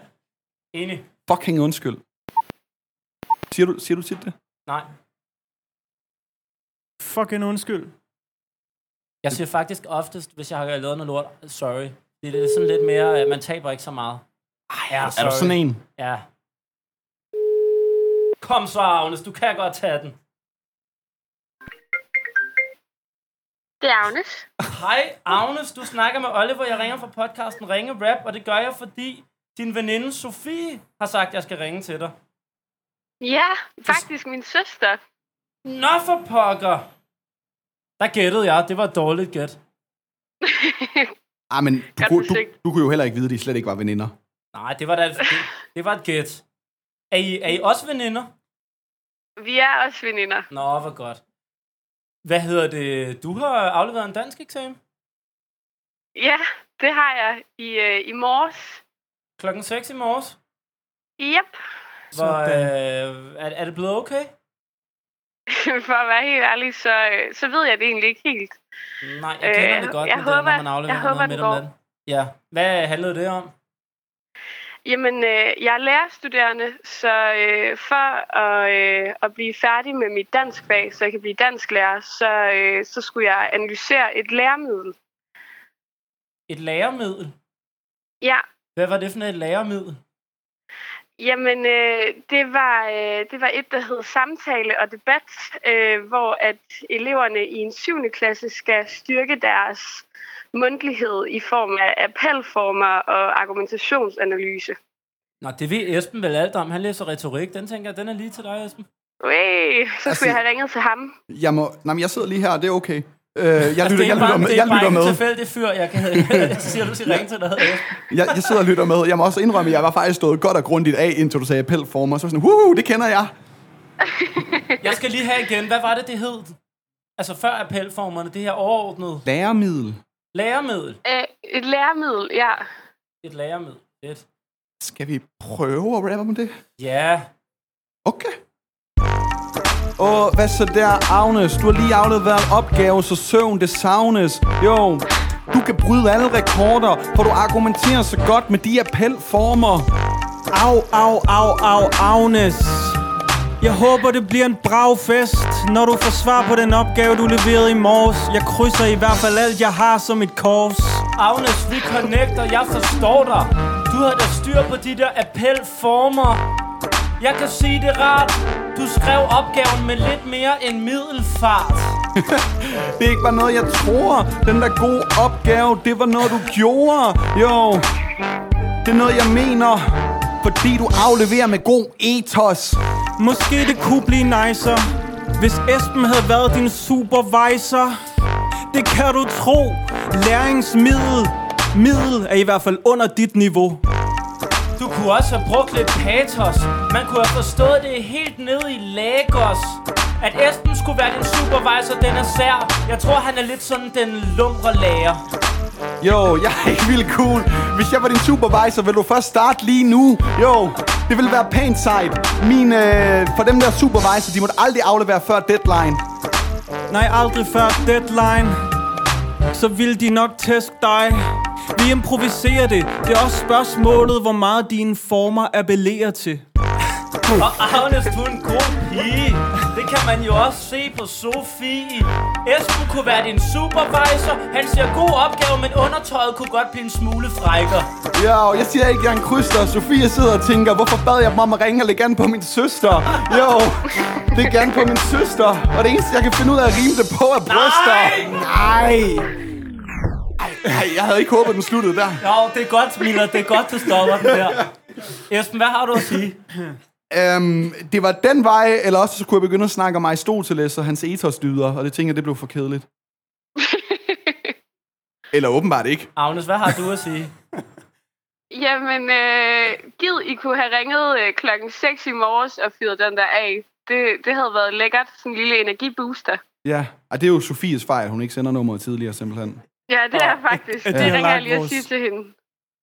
Speaker 1: Enig.
Speaker 2: Fucking undskyld. Siger du, siger du tit det?
Speaker 1: Nej.
Speaker 4: Fucking undskyld.
Speaker 1: Jeg siger faktisk oftest, hvis jeg har lavet noget lort, sorry. Det er lidt- sådan lidt mere, øh, man taber ikke så meget. Ej, ja, sorry.
Speaker 2: Er du sådan en?
Speaker 1: Ja. Kom så, Agnes. Du kan godt tage den.
Speaker 7: Det er Agnes.
Speaker 1: Hej, Agnes. Du snakker med Oliver. Jeg ringer fra podcasten Ringe Rap, og det gør jeg, fordi din veninde Sofie har sagt, at jeg skal ringe til dig.
Speaker 7: Ja, faktisk min søster.
Speaker 1: Nå for pokker! Der gættede jeg. Det var et dårligt gæt.
Speaker 2: Ah, men du,
Speaker 7: Godt
Speaker 2: kunne, du,
Speaker 7: forsøgt.
Speaker 2: du kunne jo heller ikke vide, at de slet ikke var veninder.
Speaker 1: Nej, det var, da, det, det var et gæt. Er I, er I også veninder?
Speaker 7: Vi er også veninder.
Speaker 1: Nå, hvor godt. Hvad hedder det? Du har afleveret en dansk eksamen
Speaker 7: Ja, det har jeg i, øh, i morges.
Speaker 1: klokken 6 i morges.
Speaker 7: Yep.
Speaker 1: Hvor,
Speaker 4: Sådan.
Speaker 1: øh, er, er det blevet okay?
Speaker 7: For at være helt ærlig, så, øh, så ved jeg det egentlig ikke helt.
Speaker 1: Nej, jeg kender
Speaker 7: Øh,
Speaker 1: det godt,
Speaker 7: jeg
Speaker 1: med det, når
Speaker 7: håber-
Speaker 1: man afleverer
Speaker 7: jeg
Speaker 1: noget
Speaker 7: håber,
Speaker 1: midt
Speaker 7: den
Speaker 1: om
Speaker 7: går.
Speaker 1: natten. Ja. Hvad handlede det om?
Speaker 7: Jamen, øh, jeg er lærerstuderende, så øh, for at, øh, at blive færdig med mit danskfag, så jeg kan blive dansklærer, så, øh, så skulle jeg analysere et læremiddel.
Speaker 1: Et læremiddel.
Speaker 7: Ja,
Speaker 1: Hvad var det for et læremiddel?
Speaker 7: Jamen, øh, det, var, øh, det var et, der hed samtale og debat, øh, hvor at eleverne i en 7. klasse skal styrke deres mundtlighed i form af appelformer og argumentationsanalyse.
Speaker 1: Nå, det ved Esben vel alt om. Han læser retorik. Den tænker jeg, den er lige til dig, Esben.
Speaker 7: Ui, så skulle jeg have ringet til ham.
Speaker 2: Jeg, må, nej, men jeg sidder lige her, og det er okay. Øh, jeg, lytter,
Speaker 1: Altså, det
Speaker 2: jeg,
Speaker 1: er
Speaker 2: lytter
Speaker 1: bare,
Speaker 2: med,
Speaker 1: det
Speaker 2: jeg
Speaker 1: er bare
Speaker 2: lytter
Speaker 1: en
Speaker 2: med.
Speaker 1: tilfældig fyr, jeg kan jeg siger, du skal ringe til, der hedder Esben.
Speaker 2: Jeg, jeg sidder og lytter med. Jeg må også indrømme, at jeg var faktisk stået godt og grundigt af, indtil du sagde appelformer. Så var jeg sådan, "Woohoo, det kender jeg.
Speaker 1: Jeg skal lige have igen. Hvad var det, det hed? Altså før appelformerne, det her overordnede
Speaker 2: Læremiddel.
Speaker 1: læremiddel.
Speaker 7: Øh, et læremiddel, ja.
Speaker 1: Et læremiddel. Et.
Speaker 2: Skal vi prøve at rappe om det?
Speaker 1: Ja,
Speaker 2: Okay. Og hvad så der, Agnes? Du har lige afleveret opgave, så søvn det savnes. Jo, du kan bryde alle rekorder, for du argumenterer så godt med de appelformer.
Speaker 4: Au, au, au, au, Agnes. Jeg håber, det bliver en brav fest, når du får svar på den opgave, du leverede i morges. Jeg krydser i hvert fald alt, jeg har som et kors.
Speaker 1: Agnes, vi connecter. Jeg forstår dig. Du har da styr på de der appelformer. Jeg kan sige det rart. Du skrev opgaven med lidt mere end middelfart.
Speaker 2: Det er ikke bare noget, jeg tror. Den der gode opgave, det var noget, du gjorde. Jo, det er noget, jeg mener. Fordi du afleverer med god ethos.
Speaker 4: Måske det kunne blive nicer, hvis Esben havde været din supervisor. Det kan du tro. Læringsmiddel middel er i hvert fald under dit niveau.
Speaker 1: Du kunne også have brugt lidt patos. Man kunne have forstået det helt ned i Lagos. At Esben skulle være din supervisor, den er sær. Jeg tror, han er lidt sådan den lumre lærer.
Speaker 2: Jo, jeg er ikke vildt cool. Hvis jeg var din supervisor, ville du først starte lige nu. Jo, det ville være pænt sejt. Min, øh, for dem der supervisor, de måtte aldrig aflevere før deadline.
Speaker 4: Nej, aldrig før deadline Så vil de nok teste dig Vi improviserer det Det er også spørgsmålet, hvor meget dine former appellerer til
Speaker 1: Og Agnes, du er en god pige. Det kan man jo også se på Sofie. Esben kunne være din supervisor. Han siger god opgave, men undertøjet kunne godt blive en smule frækker.
Speaker 2: Ja, og jeg siger ikke engang kryds, og Sofie sidder og tænker, hvorfor bad jeg dem om at ringe og lægge an på min søster? Jo, det er gerne på min søster, og det eneste, jeg kan finde ud af at rime det på, er bryster. Nej! Nej! Ej, jeg havde ikke håbet, den sluttede der.
Speaker 1: Jo, det er godt, Miller. Det er godt, du stopper den der. Esben, hvad har du at sige?
Speaker 2: Øhm, det var den vej, eller også så kunne jeg begynde at snakke om Aristoteles og hans ethosdyder, og det tænker jeg, det blev for kedeligt. Eller åbenbart ikke.
Speaker 1: Agnes, hvad har du at sige?
Speaker 7: Jamen, øh, gid I kunne have ringet øh, klokken 6 i morges og fyret den der af. Det, det havde været lækkert. Sådan en lille energibooster.
Speaker 2: Ja, og det er jo Sofies fejl, hun ikke sender nummeret tidligere, simpelthen.
Speaker 7: Ja, det er faktisk.
Speaker 4: at
Speaker 7: Det
Speaker 4: de har
Speaker 7: ringer jeg
Speaker 4: lagt
Speaker 7: lige og
Speaker 4: vores-
Speaker 7: siger til hende.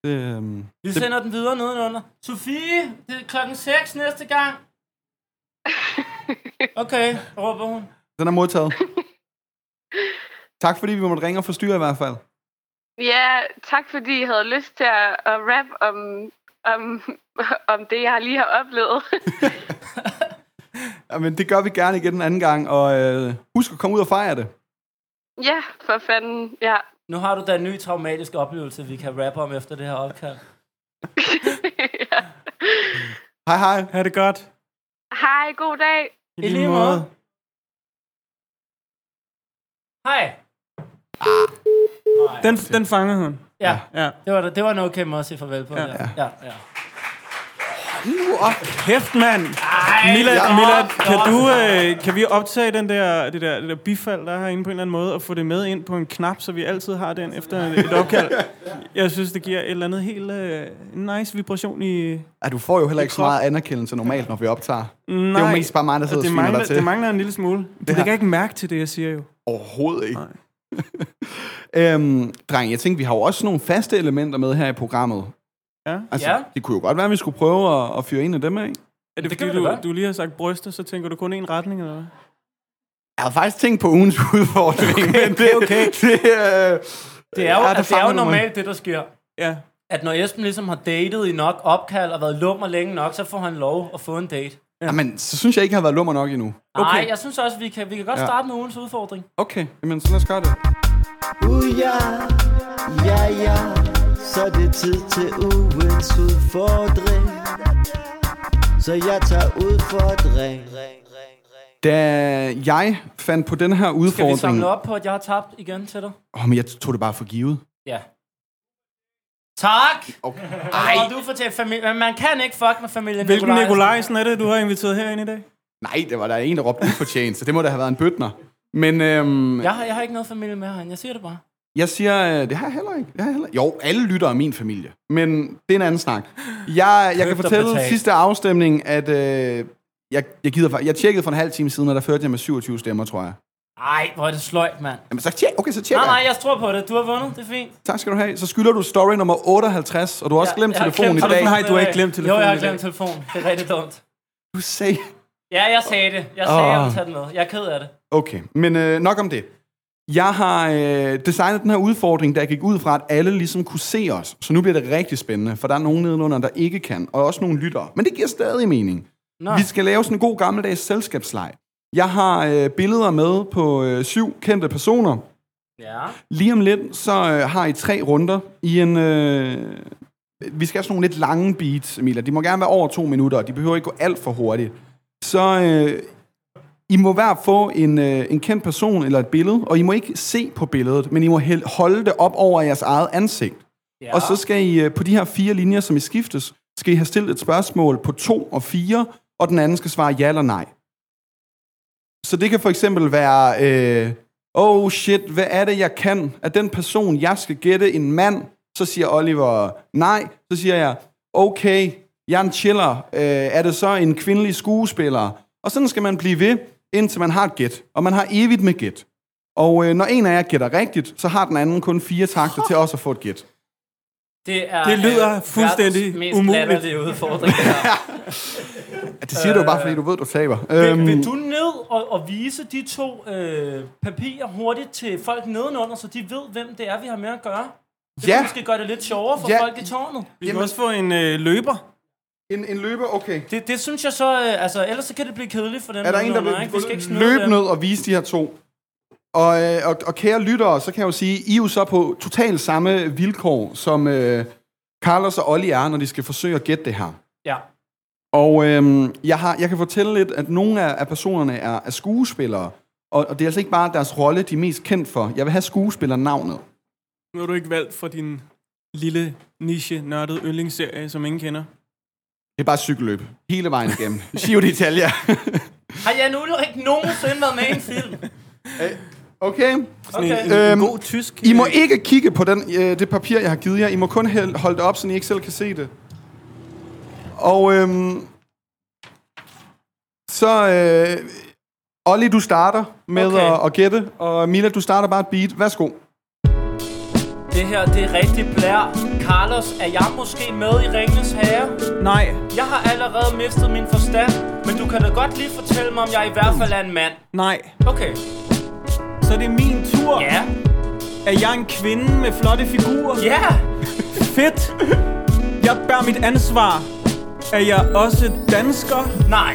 Speaker 2: Det, øhm,
Speaker 1: Vi sender den videre nedenunder. Sofie, det er klokken 6 næste gang. Okay, råber hun.
Speaker 2: den er modtaget. tak fordi vi måtte ringe og forstyrre i hvert fald.
Speaker 7: Ja, tak fordi I havde lyst til at, at rap om, om, om det, jeg lige har oplevet.
Speaker 2: Jamen, det gør vi gerne igen en anden gang, og øh, husk at komme ud og fejre det.
Speaker 7: ja, for fanden. Ja.
Speaker 1: Nu har du da en ny traumatisk oplevelse, vi kan rappe om efter det her opkald.
Speaker 7: ja.
Speaker 2: Hej hej.
Speaker 4: Ha' det godt
Speaker 7: Hej, god dag.
Speaker 4: I
Speaker 1: I lige måde. Hej.
Speaker 4: Den, den fanger hun
Speaker 1: Ja,
Speaker 4: Ja.
Speaker 1: det var, det var en okay måde at sige farvel på. Ja, ja. ja, ja.
Speaker 2: Nu op.
Speaker 4: Kæft, mand Mila, Mila kan, du, øh, kan vi optage den der, det, der, det der bifald, der er herinde på en eller anden måde, og få det med ind på en knap, så vi altid har den efter et opkald? Jeg synes, det giver et eller andet helt øh, nice vibration i...
Speaker 2: Ja, du får jo heller ikke så meget anerkendelse normalt, når vi optager. Nej. Det er jo mest bare mig, der sidder og,
Speaker 4: det
Speaker 2: og sviner
Speaker 4: mangler,
Speaker 2: dig til.
Speaker 4: det mangler en lille smule. Du lægger ikke mærke til det, jeg siger jo.
Speaker 2: Overhovedet ikke. øhm, dreng, jeg tænkte, vi har jo også nogle faste elementer med her i programmet.
Speaker 4: Ja.
Speaker 2: Altså,
Speaker 1: Ja.
Speaker 2: Det kunne jo godt være, at vi skulle prøve at, at fyre en af dem af.
Speaker 4: Er det,
Speaker 1: det
Speaker 4: det
Speaker 1: kan
Speaker 4: fordi,
Speaker 1: vi da
Speaker 4: du,
Speaker 1: godt.
Speaker 4: du lige har sagt bryster, så tænker du kun én retning, eller hvad?
Speaker 2: Jeg havde faktisk tænkt på ugens udfordring, okay, men det, okay. det, øh,
Speaker 1: Det er jo, ja,
Speaker 2: Ja, der
Speaker 1: altså, det er
Speaker 2: fanger
Speaker 1: jo
Speaker 2: du mig.
Speaker 1: normalt det, der sker.
Speaker 4: Ja.
Speaker 1: At når Esben ligesom har datet i nok opkald og været lummer længe nok, så får han lov at få en date.
Speaker 2: Jamen, så synes jeg ikke, jeg har været lummer nok endnu.
Speaker 1: Okay.
Speaker 4: Okay.
Speaker 1: Nej, jeg synes også, vi kan, vi kan godt
Speaker 2: Ja.
Speaker 1: ja. starte med ugens udfordring.
Speaker 2: Okay, jamen, så lad os gøre det.
Speaker 9: Uh, ja, ja, ja, så er det tid til ugens udfordring. Så jeg tager udfordring.
Speaker 2: Da jeg fandt på den her
Speaker 1: Skal vi
Speaker 2: udfordring...
Speaker 1: samle op på, at jeg har tabt igen til dig?
Speaker 2: Åh, oh, men jeg tog det bare for givet.
Speaker 1: Ja. Tak!
Speaker 2: Okay.
Speaker 1: Ej. du fortæller familie. Men man kan ikke fuck med familien
Speaker 4: Hvilken
Speaker 1: Nikolajsen.
Speaker 4: Nikolajsen er det, du har inviteret herind i dag?
Speaker 2: Nej, det var der en, der råbte ufortjent, så det må da have været en bøtner. Men øhm, ja.
Speaker 1: Jeg har, jeg har ikke noget familie med herinde. Jeg siger det bare.
Speaker 2: jeg siger, øh, det har jeg heller ikke. Det har jeg heller ikke. Jo, alle lytter af min familie, men det er en anden snak. Jeg, jeg kan
Speaker 1: Købt og
Speaker 2: fortælle
Speaker 1: betalt.
Speaker 2: sidste afstemning, at øh, jeg, jeg, gider, fa- jeg tjekkede for en halv time siden, og der førte jeg med 27 stemmer, tror jeg.
Speaker 1: Ej, hvor er det sløjt, mand.
Speaker 2: Jamen, så tjek, okay, så tjek.
Speaker 1: Nej, nej, jeg tror på det. Du har vundet. Det er fint.
Speaker 2: Tak skal du have. Så skylder du story nummer 58, og du har også
Speaker 1: Ja,
Speaker 2: glemt
Speaker 1: jeg har
Speaker 2: telefonen
Speaker 1: glemt
Speaker 2: i dag.
Speaker 1: telefonen.
Speaker 4: Nej, du har ikke glemt telefonen
Speaker 1: Jo, jeg har
Speaker 4: i dag.
Speaker 1: glemt telefonen. Det er rigtig dumt.
Speaker 2: Du sagde...
Speaker 1: Ja, jeg sagde det. Jeg sagde, oh. jeg
Speaker 2: Åh.
Speaker 1: ville tage den med. Jeg er ked af det.
Speaker 2: Okay, men øh, nok om det. Jeg har øh, designet den her udfordring, der gik ud fra, at alle ligesom kunne se os. Så nu bliver det rigtig spændende, for der er nogen nedenunder, der ikke kan, og også nogle lyttere. Men det giver stadig mening.
Speaker 1: Nå.
Speaker 2: Vi skal lave sådan en god gammeldags selskabsleg. Jeg har øh, billeder med på øh, syv kendte personer.
Speaker 1: Ja.
Speaker 2: Lige om lidt, så øh, har I tre runder i en... Øh, vi skal have sådan nogle lidt lange beats, Emilia. De må gerne være over to minutter, og de behøver ikke gå alt for hurtigt. Så øh, I må hver få en, øh, en kendt person eller et billede, og I må ikke se på billedet, men I må hel- holde det op over jeres eget ansigt.
Speaker 1: ja.
Speaker 2: Ja. Og så skal I øh, på de her fire linjer, som I skiftes, skal I have stillet et spørgsmål på to og fire, og den anden skal svare ja eller nej. Så det kan for eksempel være, øh, oh shit, hvad er det, jeg kan? Er den person, jeg skal gætte, en mand? Så siger Oliver nej. Så siger jeg, okay, jeg er en chiller. Øh, er det så en kvindelig skuespiller? Og sådan skal man blive ved, indtil man har et gæt. Og man har evigt med gæt. Og øh, når en af jer gætter rigtigt, så har den anden kun fire takter til også at få et gæt.
Speaker 10: Det, er,
Speaker 4: Det lyder
Speaker 10: øh,
Speaker 4: fuldstændig
Speaker 10: verdens mest
Speaker 4: umuligt.
Speaker 10: latterlige udfordring. det her.
Speaker 2: Det siger du jo bare, fordi du ved, du taber.
Speaker 1: Vil,
Speaker 2: Øhm,
Speaker 1: vil du ned og, og vise de to øh, papirer hurtigt til folk nedenunder, så de ved, hvem det er, vi har med at gøre? Det
Speaker 2: Ja.
Speaker 1: ja. måske gøre det lidt sjovere for
Speaker 2: Ja.
Speaker 1: ja. folk i tårnet.
Speaker 4: Vi kan også få en øh, løber.
Speaker 2: en, en løber, okay.
Speaker 1: Det, det synes jeg så... Øh, altså, ellers så kan det blive kedeligt for dem.
Speaker 2: Er der en, der
Speaker 1: nedenunder, ikke? Vi skal ikke
Speaker 2: vil
Speaker 1: snyde
Speaker 2: løbe
Speaker 1: dem.
Speaker 2: ned og vise de her to? Og, øh, og, og kære lyttere, så kan jeg jo sige, I er jo så på totalt samme vilkår, som øh, Carlos og Olli er, når de skal forsøge at gætte det her.
Speaker 1: Ja.
Speaker 2: Og øhm, jeg, har, jeg kan fortælle lidt, at nogle af, af personerne er, er skuespillere, og, og det er altså ikke bare deres rolle, de er mest kendt for. Jeg vil have skuespillernavnet.
Speaker 4: Nu har du ikke valgt fra din lille niche nørdede yndlingsserie, som ingen kender.
Speaker 2: Det er bare cykelløb. Hele vejen igennem. Giro d'Italia.
Speaker 1: Har Jan Ulrik nogensinde været med i en film?
Speaker 2: Okay?
Speaker 4: Sådan okay. en, en,
Speaker 2: Øhm,
Speaker 4: en god tysk.
Speaker 2: I må
Speaker 4: øh,
Speaker 2: ikke kigge på den, øh, det papir, jeg har givet jer. I må kun hæl- holde det op, så I ikke selv kan se det. Og øhm, så... Øh, Olli, du starter med okay.
Speaker 1: Okay.
Speaker 2: at, at gætte, og Mila, du starter bare et beat. Værsgo.
Speaker 1: Det her, det er rigtig blær. Carlos, er jeg måske med i Ringenes Herre?
Speaker 4: Nej,
Speaker 1: Jeg har allerede mistet min forstand, men du kan da godt lige fortælle mig, om jeg i hvert fald er en mand.
Speaker 4: nej.
Speaker 1: Okay.
Speaker 4: Så det er min tur.
Speaker 1: Ja.
Speaker 4: Er jeg en kvinde med flotte figurer?
Speaker 1: Ja!
Speaker 4: Fedt. Jeg bærer mit ansvar. Er jeg også dansker?
Speaker 1: Nej.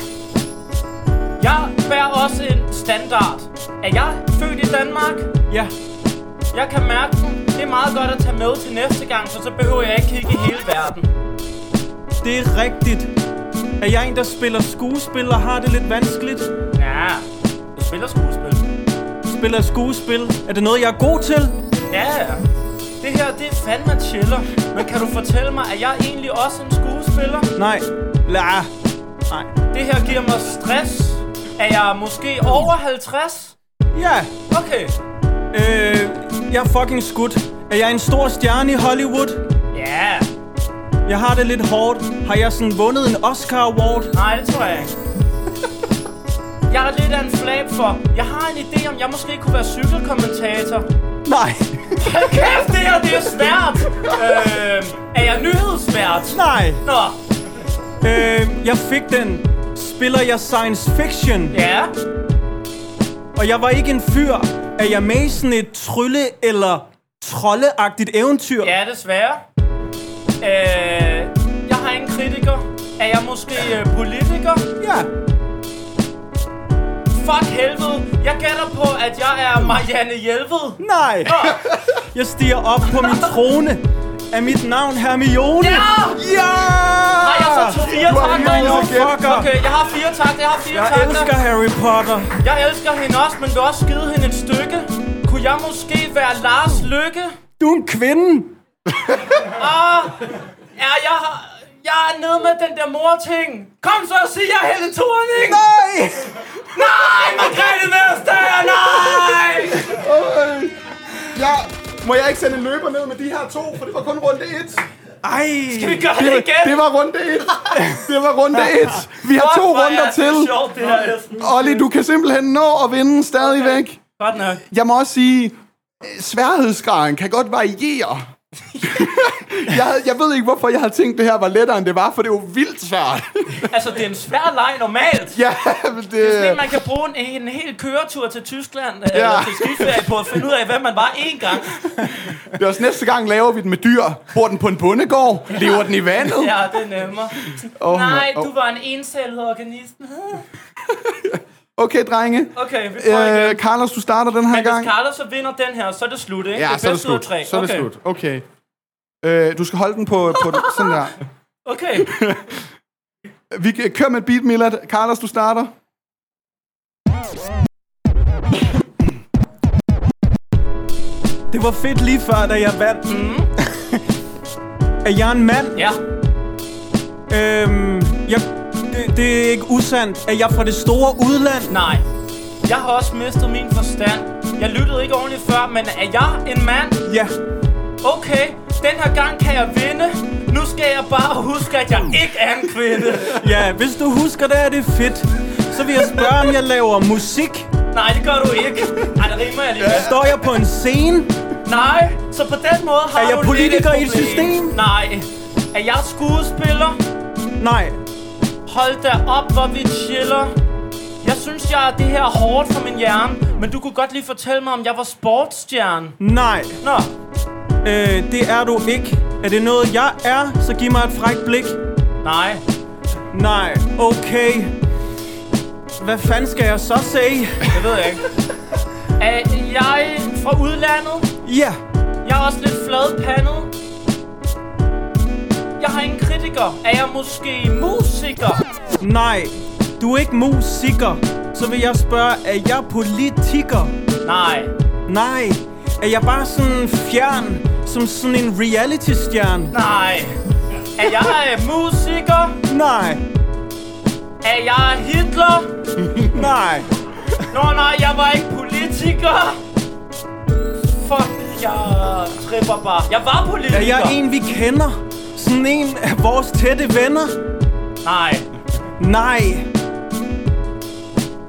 Speaker 1: Jeg bærer også en standard. Er jeg født i Danmark?
Speaker 4: Ja.
Speaker 1: Jeg kan mærke den. Det er meget godt at tage med til næste gang, for så behøver jeg ikke kigge i hele verden.
Speaker 4: Det er rigtigt. Er jeg en, der spiller skuespil og har det lidt vanskeligt?
Speaker 1: Ja. Du spiller skuespil.
Speaker 4: Spiller jeg skuespil? Er det noget, jeg er god til?
Speaker 1: Ja. Det her, det er fandme chiller. Men kan du fortælle mig, at jeg egentlig også en skuespiller?
Speaker 4: Nej. La. Nej.
Speaker 1: Det her giver mig stress. Er jeg måske over 50?
Speaker 4: Ja.
Speaker 1: Okay.
Speaker 4: Øh, jeg er fucking skudt. Er jeg en stor stjerne i Hollywood?
Speaker 1: Ja.
Speaker 4: Jeg har det lidt hårdt. Har jeg sådan vundet en Oscar Award?
Speaker 1: Nej, det tror jeg ikke. Jeg er lidt af en flab for. Jeg har en idé om, jeg måske kunne være cykelkommentator.
Speaker 4: Nej.
Speaker 1: Hold kæft, det her, det er svært. Øh, er jeg nyhedsvært?
Speaker 4: Nej.
Speaker 1: Nå,
Speaker 4: Øh, jeg fik den. Spiller jeg science fiction?
Speaker 1: ja.
Speaker 4: Og jeg var ikke en fyr. Er jeg med i sådan et trylle- eller trolleagtigt eventyr?
Speaker 1: Ja, desværre. Øh, jeg har ingen kritiker. Er jeg måske øh, politiker?
Speaker 4: ja.
Speaker 1: Fuck helvede. Jeg gætter på, at jeg er Marianne Hjelved.
Speaker 4: Nej. Jeg stiger op på min trone. Er mit navn Hermione?
Speaker 1: Ja!
Speaker 4: Ja!
Speaker 1: Har jeg så to fire
Speaker 2: Du har
Speaker 1: takter
Speaker 2: fire
Speaker 1: endnu?
Speaker 2: igen.
Speaker 4: Fucker.
Speaker 1: Okay, jeg har fire takter, jeg har fire
Speaker 4: Jeg
Speaker 1: takter.
Speaker 4: elsker Harry Potter.
Speaker 1: Jeg elsker hende også, men vil også skide hende et stykke. Kunne jeg måske være Lars Lykke?
Speaker 4: Du er en kvinde.
Speaker 1: Er jeg... Jeg er nede med den der mor-ting. Kom så og sig, jeg er Helle Thorning!
Speaker 4: Nej!
Speaker 1: Nej, Margrethe Vestager, nej!
Speaker 2: Ja, må jeg ikke sende en løber ned med de her to, for det var kun runde 1.
Speaker 4: Ej.
Speaker 1: Vi gør det igen!
Speaker 2: Det var runde 1. Det var runde 1. Vi har
Speaker 1: Fuck,
Speaker 2: to
Speaker 1: hvor
Speaker 2: runder
Speaker 1: er det
Speaker 2: til.
Speaker 1: sjovt, det her, Esben.
Speaker 2: Olli, du kan simpelthen nå at vinde stadigvæk.
Speaker 1: Godt nok.
Speaker 2: Jeg må også sige, øh, sværhedsgraden kan godt variere. jeg, havde, jeg ved ikke, hvorfor jeg havde tænkt, det her var lettere, end det var, for det var vildt svært.
Speaker 1: Altså, det er en svær leg normalt.
Speaker 2: ja, men det...
Speaker 1: Sådan en, man kan bruge en, en hel køretur til Tyskland ja. eller til skiferie på at finde ud af, hvem man var én gang.
Speaker 2: Det er også næste gang, laver vi den med dyr. Bor den på en bondegård? Lever den i vandet?
Speaker 1: Ja, det er nemmere.
Speaker 2: Oh,
Speaker 1: Nej,
Speaker 2: my- oh.
Speaker 1: du var en encellet organisten.
Speaker 2: Okay, drenge.
Speaker 1: Okay, vi prøver igen.
Speaker 2: Øh, Carlos, du starter den her
Speaker 1: Men
Speaker 2: gang.
Speaker 1: hvis Carlos så vinder den her, så er det slut, ikke?
Speaker 2: Ja,
Speaker 1: det
Speaker 2: så er det
Speaker 1: bedste ud af
Speaker 2: slut.
Speaker 1: tre.
Speaker 2: Så er det
Speaker 1: okay.
Speaker 2: slut. Okay. Øh, du skal holde den på, på sådan der.
Speaker 1: Okay.
Speaker 2: Vi kan- kører med et beat, Milad. Carlos, du starter.
Speaker 4: Det var fedt lige før, da jeg vandt. Mm. er jeg en mand?
Speaker 1: Ja.
Speaker 4: Øhm, jeg, det, det er ikke usandt. Er jeg fra det store udland?
Speaker 1: Nej. Jeg har også mistet min forstand. Jeg lyttede ikke ordentligt før, men er jeg en mand?
Speaker 4: Ja.
Speaker 1: Okay, den her gang kan jeg vinde. Nu skal jeg bare huske, at jeg ikke er en kvinde.
Speaker 4: Ja, hvis du husker det, er det fedt. Så vil jeg spørge, om jeg laver musik.
Speaker 1: Nej, det gør du ikke. Ej, det rimer jeg lige.
Speaker 4: Står jeg på en scene?
Speaker 1: Nej, så på den måde har
Speaker 4: Er
Speaker 1: du
Speaker 4: jeg
Speaker 1: lidt
Speaker 4: politiker i et
Speaker 1: problem.
Speaker 4: system?
Speaker 1: Nej. Er jeg skuespiller?
Speaker 4: Nej.
Speaker 1: Hold da op, hvor vi chiller. Jeg synes, jeg er det her er hårdt for min hjerne. Men du kunne godt lige fortælle mig, om jeg var sportsstjerne.
Speaker 4: Nej.
Speaker 1: Nå,
Speaker 4: Øh, det er du ikke. Er det noget, jeg er, så giv mig et frækt blik.
Speaker 1: nej.
Speaker 4: Nej, okay. Hvad fanden skal jeg så sige?
Speaker 1: Det ved jeg ikke. Er jeg fra udlandet?
Speaker 4: Ja,
Speaker 1: Jeg er også lidt fladpandet. Jeg har ingen kritiker. Er jeg måske musiker?
Speaker 4: nej. Du er ikke musiker. Så vil jeg spørge, er jeg politiker?
Speaker 1: Nej.
Speaker 4: Nej. Er jeg bare sådan fjern, som sådan en reality-stjerne?
Speaker 1: Nej. Er jeg øh, musiker?
Speaker 4: Nej,
Speaker 1: Er jeg Hitler?
Speaker 4: nej.
Speaker 1: Nå nej, jeg var ikke politiker. Fuck, jeg tripper bare. Jeg var politiker.
Speaker 4: Er jeg en, vi kender? Sådan en af vores tætte venner?
Speaker 1: Nej.
Speaker 4: Nej.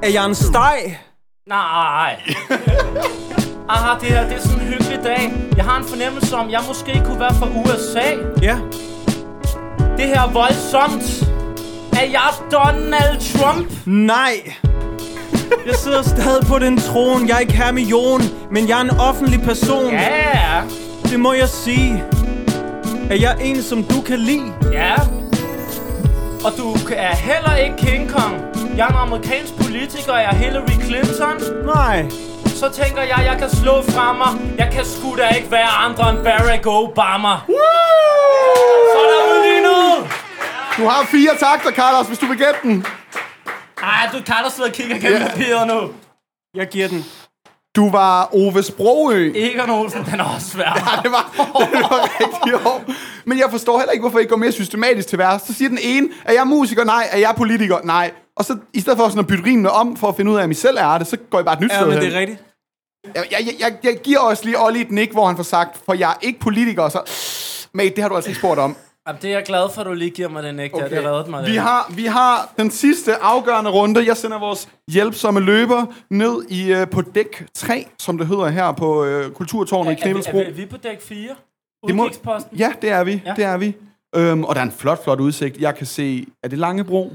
Speaker 4: Er jeg en steg?
Speaker 1: Nej. Aha, det her det er sådan en hyggelig dag. Jeg har en fornemmelse om, jeg måske kunne være fra USA.
Speaker 4: Ja.
Speaker 1: Det her er voldsomt. Er jeg Donald Trump?
Speaker 4: Nej. Jeg sidder stadig på den tron. Jeg er ikke Hermione, men jeg er en offentlig person.
Speaker 1: Ja, yeah.
Speaker 4: Det må jeg sige. Er jeg en, som du kan lide?
Speaker 1: ja. Og du er heller ikke King Kong. Jeg er en amerikansk politiker, jeg er Hillary Clinton.
Speaker 4: Nej.
Speaker 1: Så tænker jeg, jeg kan slå fra mig. Jeg kan sgu da ikke være andre end Barack Obama. Så er der udlignet!
Speaker 2: Du har fire takter, Carlos, hvis du vil gætte den.
Speaker 1: Ej, du kan da sidde og kigge gennem papiret nu.
Speaker 4: Jeg giver den.
Speaker 2: Du var Ove Sprogø.
Speaker 1: Egon Olsen, den er også svær.
Speaker 2: det var, det var rigtig hårdt. Men jeg forstår heller ikke, hvorfor I går mere systematisk til værks. Så siger den ene, er jeg musiker? Nej. Er jeg politiker? Nej. Og så i stedet for sådan at bytte rimene om, for at finde ud af, om I selv er det, så går I bare et nyt
Speaker 4: Ja,
Speaker 2: sted
Speaker 4: men
Speaker 2: hen.
Speaker 4: det er rigtigt.
Speaker 2: jeg, jeg, jeg- jeg, jeg, giver også lige Olli et nik, hvor han får sagt, for jeg er ikke politiker, og så... Mate, det har du altså ikke spurgt om.
Speaker 1: Jamen, det er jeg glad for, at du lige giver mig den ægte. Okay. Det reddede mig.
Speaker 2: Vi
Speaker 1: lidt.
Speaker 2: har, vi har den sidste afgørende runde. Jeg sender vores hjælpsomme løber ned i øh, på dæk 3, som det hedder her på øh, Kulturtårnet i
Speaker 1: er, vi,
Speaker 2: Knebelsbro.
Speaker 1: er, vi, er vi på dæk 4?
Speaker 2: Det må-
Speaker 1: Udkigsposten?
Speaker 2: Ja, det er vi. Ja. Det er vi. Øhm, og der er en flot, flot udsigt. Jeg kan se, er det Langebro?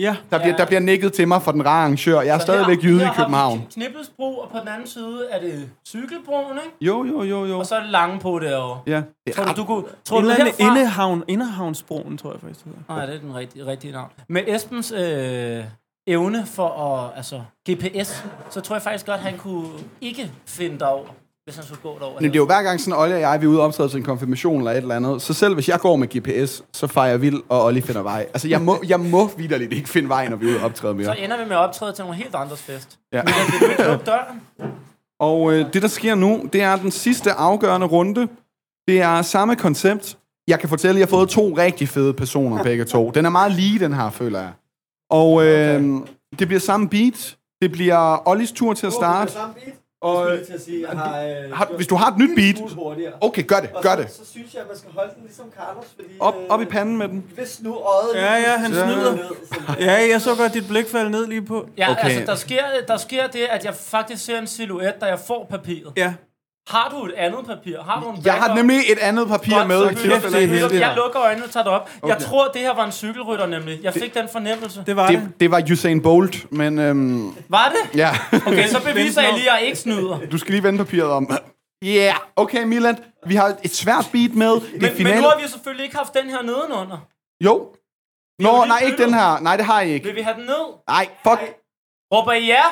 Speaker 4: Ja.
Speaker 2: Der, bliver,
Speaker 1: Ja.
Speaker 2: der bliver nikket til mig fra den rare arrangør. Jeg er stadigvæk jyde i København.
Speaker 1: Knibbelsbro, og på den anden side er det Cykelbroen, ikke?
Speaker 2: Jo, jo, jo, jo.
Speaker 1: Og så er det Langebro derovre.
Speaker 2: Ja.
Speaker 1: Tror du, du kunne... Tror
Speaker 4: En
Speaker 1: du,
Speaker 4: eller anden
Speaker 1: herfra...
Speaker 4: indehavn, indehavnsbroen, tror jeg faktisk. Det hedder.
Speaker 1: Nej, det er den rigtige, rigtige navn. Med Esbens øh, evne for at... Altså, GPS, så tror jeg faktisk godt, han kunne ikke finde derover, hvis han skulle gå derover.
Speaker 2: Men det er jo hver gang sådan, Olli og jeg, vi er ude og optræde til en konfirmation eller et eller andet. Så selv hvis jeg går med GPS, så fejrer jeg vild, og Olli finder vej. Altså, jeg må, jeg må vidderligt ikke finde vej, når vi er ude og optræde
Speaker 1: Så
Speaker 2: mere.
Speaker 1: ender vi med at optræde til nogle helt andres fest.
Speaker 2: Ja.
Speaker 1: Men vi kan ikke lukke døren.
Speaker 2: Og øh, det, der sker nu, det er den sidste afgørende runde. Det er samme koncept. Jeg kan fortælle, at jeg har fået to rigtig fede personer, begge to. Den er meget lige, den her, føler jeg. Og øh, okay. det bliver samme beat. Det bliver Ollis tur til at starte. Og, øh,
Speaker 10: til at sige, jeg har, øh,
Speaker 2: har, hvis du har et nyt beat...
Speaker 10: hurtigere.
Speaker 2: Okay, gør det,
Speaker 10: Og
Speaker 2: gør
Speaker 10: så,
Speaker 2: det.
Speaker 10: Så synes jeg, at man skal holde den ligesom Carlos, fordi...
Speaker 2: Op,
Speaker 10: øh,
Speaker 2: op i panden med den.
Speaker 10: Hvis nu øjet...
Speaker 4: Ja, ja, han snyder. Ja, jeg så godt dit blik falde ned lige på.
Speaker 1: Ja,
Speaker 2: Okay.
Speaker 1: okay. altså, der sker, der sker det, at jeg faktisk ser en silhuet, da jeg får papiret.
Speaker 4: Ja.
Speaker 1: Har du et andet papir? Har du en
Speaker 2: Jeg har
Speaker 1: backup?
Speaker 2: nemlig et andet papir
Speaker 1: Godt,
Speaker 2: med.
Speaker 1: så
Speaker 2: i
Speaker 1: kæft,
Speaker 2: tilfælde af-
Speaker 4: det er heldigt.
Speaker 1: Jeg lukker øjnene og tager det op. Okay. Jeg tror, det her var en cykelrytter nemlig. Jeg fik den fornemmelse.
Speaker 4: Det var det.
Speaker 2: Det, det var Usain Bolt, men øhm,
Speaker 1: Var det?
Speaker 2: ja.
Speaker 1: Okay, så beviser jeg
Speaker 4: Vent
Speaker 1: lige, at jeg ikke snyder.
Speaker 2: Du skal lige vende papiret om. Yeah. Okay, Milan, vi har et svært beat med. Det er
Speaker 1: Men, men
Speaker 2: finalen.
Speaker 1: nu har vi jo selvfølgelig ikke haft den her nedenunder.
Speaker 2: Jo.
Speaker 1: har jo
Speaker 2: Nå,
Speaker 1: lige
Speaker 2: nej, ikke
Speaker 1: byttet.
Speaker 2: den her. Nej, det har I ikke.
Speaker 1: Vil vi have den ned?
Speaker 2: Nej, fuck.
Speaker 1: Råber I ja?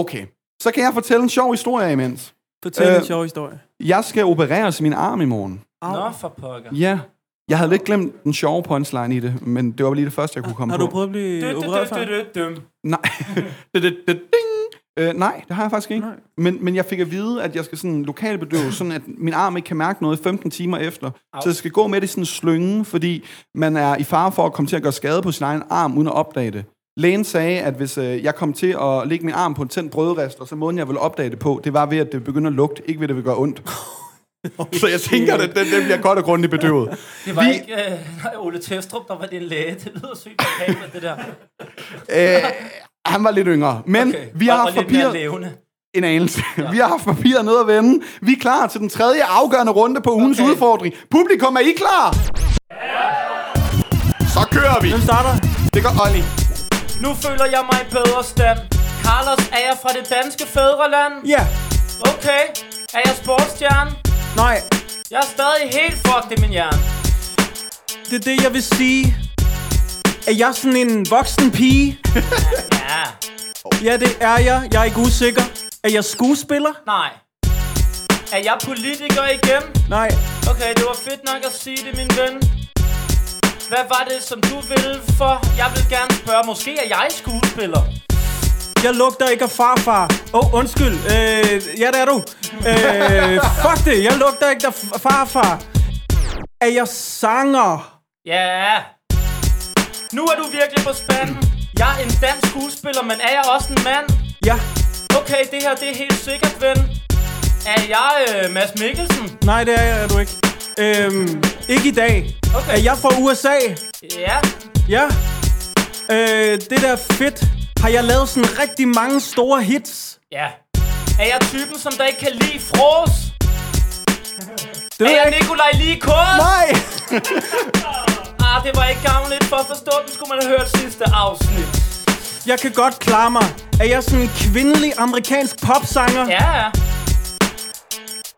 Speaker 2: Okay. Så kan jeg fortælle en sjov historie imens.
Speaker 4: Fortæl
Speaker 2: Øh,
Speaker 4: en sjov historie.
Speaker 2: Jeg skal opereres i min arm i morgen.
Speaker 1: Nå, for pokker.
Speaker 2: Ja. Jeg havde lidt glemt den sjove punchline i det, men det var lige det første, jeg kunne komme
Speaker 4: Har
Speaker 2: på.
Speaker 4: du prøvet at blive
Speaker 1: Dø, dø,
Speaker 4: opereret
Speaker 1: dø,
Speaker 4: for?
Speaker 1: dø, dø, dø.
Speaker 2: Nej. det, det, det, ding. Øh, nej, det har jeg faktisk ikke. Men, men jeg fik at vide, at jeg skal sådan lokalbedøve, sådan at min arm ikke kan mærke noget 15 timer efter. Au. Så jeg skal gå med det i sådan en slynge, fordi man er i fare for at komme til at gøre skade på sin egen arm, uden at opdage det. Lægen sagde, at hvis øh, jeg kom til at lægge min arm på en tændt brødrest, og så måden, jeg ville opdage det på, det var ved, at det begynder at lugte, ikke ved, at det vil gøre ondt. så jeg tænker, at den, den bliver godt og grundigt bedøvet.
Speaker 1: Det var
Speaker 2: Vi-
Speaker 1: vi... ikke øh, nej, Ole Testrup, der var din læge. Det lyder sygt behageligt, det der.
Speaker 2: Øh, han var lidt yngre. Men okay. vi har
Speaker 1: og,
Speaker 2: haft
Speaker 1: og lidt mere
Speaker 2: papir...
Speaker 1: levende.
Speaker 2: en anelse. Ja. Vi har haft papiret ned at vende. Vi er klar til den tredje afgørende runde på ugens okay. udfordring. Publikum, er I klar? Så kører vi.
Speaker 4: Hvem starter?
Speaker 2: Det gør Olli.
Speaker 1: Nu føler jeg mig i bedre stand. Carlos, er jeg fra det danske fædreland?
Speaker 4: Ja.
Speaker 1: Okay. Er jeg sportsstjerne?
Speaker 4: Nej,
Speaker 1: Jeg er stadig helt fucked i min hjerne.
Speaker 4: det er det, jeg vil sige. Er jeg sådan en voksen pige?
Speaker 1: Ja.
Speaker 4: Ja, det er jeg. Jeg er ikke usikker. Er jeg skuespiller?
Speaker 1: Nej. Er jeg politiker igen?
Speaker 4: Nej.
Speaker 1: Okay, det var fedt nok at sige det, min ven. Hvad var det, som du ville for? Jeg vil gerne spørge. Måske er jeg skuespiller.
Speaker 4: Jeg lugter ikke af farfar. Åh, oh, undskyld. Øh, ja, det er du. Øh, fuck det. Jeg lugter ikke af f- farfar. Er jeg sanger?
Speaker 1: Ja. Nu er du virkelig på spanden. Jeg er en dansk skuespiller, men er jeg også en mand?
Speaker 4: Ja.
Speaker 1: Okay, det her det er helt sikkert, ven. Er jeg øh, Mads Mikkelsen?
Speaker 4: Nej, det er jeg er du ikke. Øhm, ikke i dag.
Speaker 1: Okay.
Speaker 4: Er jeg fra USA?
Speaker 1: Ja.
Speaker 4: Ja. Øh, det der er fedt. Har jeg lavet sådan rigtig mange store hits?
Speaker 1: Ja. Er jeg typen, som der ikke kan lide fros?
Speaker 4: Det
Speaker 1: Er
Speaker 4: ved jeg
Speaker 1: jeg
Speaker 4: ikke.
Speaker 1: Nikolaj Likos?
Speaker 4: Nej!
Speaker 1: Ah, det var ikke gavnligt. For at forstå den, skulle man have hørt sidste afsnit.
Speaker 4: Jeg kan godt klare mig. Er jeg sådan en kvindelig amerikansk popsanger?
Speaker 1: Ja, ja.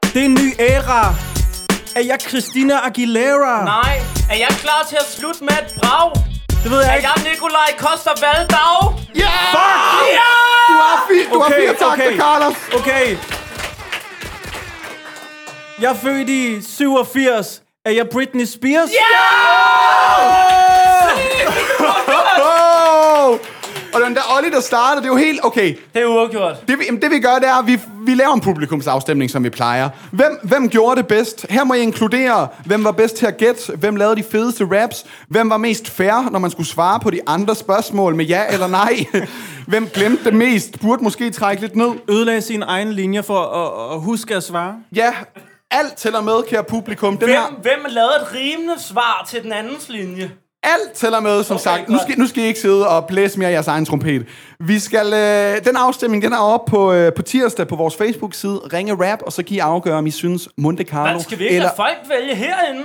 Speaker 4: Det er en ny æra. Er jeg Christina Aguilera?
Speaker 1: Nej. Er jeg klar til at slutte med et brag?
Speaker 4: Det ved jeg
Speaker 1: Er
Speaker 4: ikke.
Speaker 1: jeg Nikolaj Koster Valdag?
Speaker 4: Fuck!
Speaker 1: Ja!
Speaker 2: Du har fire, du har
Speaker 4: Okay,
Speaker 2: fire takter,
Speaker 4: okay.
Speaker 2: Carlos.
Speaker 4: Okay. Jeg er født i 87. Er jeg Britney Spears? Ja!
Speaker 2: Wow! Og den der Olli, der startede, det er jo helt... Okay,
Speaker 1: Det er uafgjort.
Speaker 2: det vi, jamen, det vi gør, det er, at vi, vi laver en publikumsafstemning, som vi plejer. Hvem, hvem gjorde det bedst? Her må I inkludere, hvem var bedst til at gætte? Hvem lavede de fedeste raps? Hvem var mest fair, når man skulle svare på de andre spørgsmål med ja eller nej? Hvem glemte det mest? Burde måske trække lidt ned?
Speaker 4: Ødelagde sine egne linjer for at, at huske at svare.
Speaker 2: Ja, alt tæller med, kære publikum. Den her,
Speaker 1: Hvem, hvem lavede et rimende svar til den andens linje?
Speaker 2: alt tæller med, som okay, sagt. Nu
Speaker 1: godt.
Speaker 2: skal, nu skal I ikke sidde og blæse mere af jeres egen trompet. Vi skal, øh, den afstemning, den er oppe på, øh, på tirsdag på vores Facebook-side. Ringe rap, og så kan I afgøre, om I synes Monte Carlo...
Speaker 1: Man skal vi ikke
Speaker 2: eller...
Speaker 1: lade folk vælge herinde?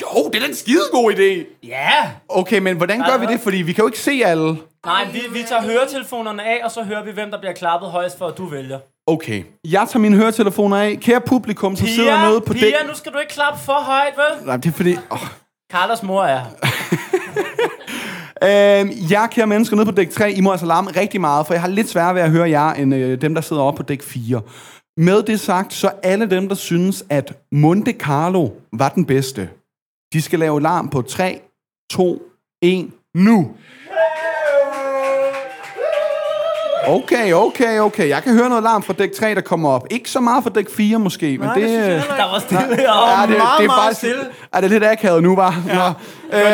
Speaker 2: Jo, det er den skidegod idé.
Speaker 1: Ja!
Speaker 2: Okay, men hvordan gør vi det? Fordi vi kan jo ikke se alle.
Speaker 1: Nej, vi, vi tager høretelefonerne af, og så hører vi, hvem der bliver klappet højst for, at du vælger.
Speaker 2: Okay, jeg tager mine høretelefoner af. Kære publikum, som sidder nede på
Speaker 1: Pia,
Speaker 2: det...
Speaker 1: nu skal du ikke klappe for højt, vel?
Speaker 2: Nej, det er fordi... Oh.
Speaker 1: Carlos mor er her.
Speaker 2: Øhm, jeg, kære mennesker, nede på dæk 3, I må altså larme rigtig meget, for jeg har lidt svært ved at høre jer, end øh, dem, der sidder oppe på dæk 4. Med det sagt, så alle dem, der synes, at Monte Carlo var den bedste, de skal lave larm på 3, 2, 1, nu. Okay, okay, okay. Jeg kan høre noget larm fra dæk 3, der kommer op. Ikke så meget fra dæk 4 måske, men
Speaker 4: Nej,
Speaker 2: det...
Speaker 4: det synes jeg heller ikke.
Speaker 1: Der var stille herovre.
Speaker 2: det,
Speaker 4: meget,
Speaker 2: det er
Speaker 4: meget
Speaker 2: faktisk,
Speaker 4: stille.
Speaker 2: Er det er lidt akavet nu, var? Ja.
Speaker 4: Godt,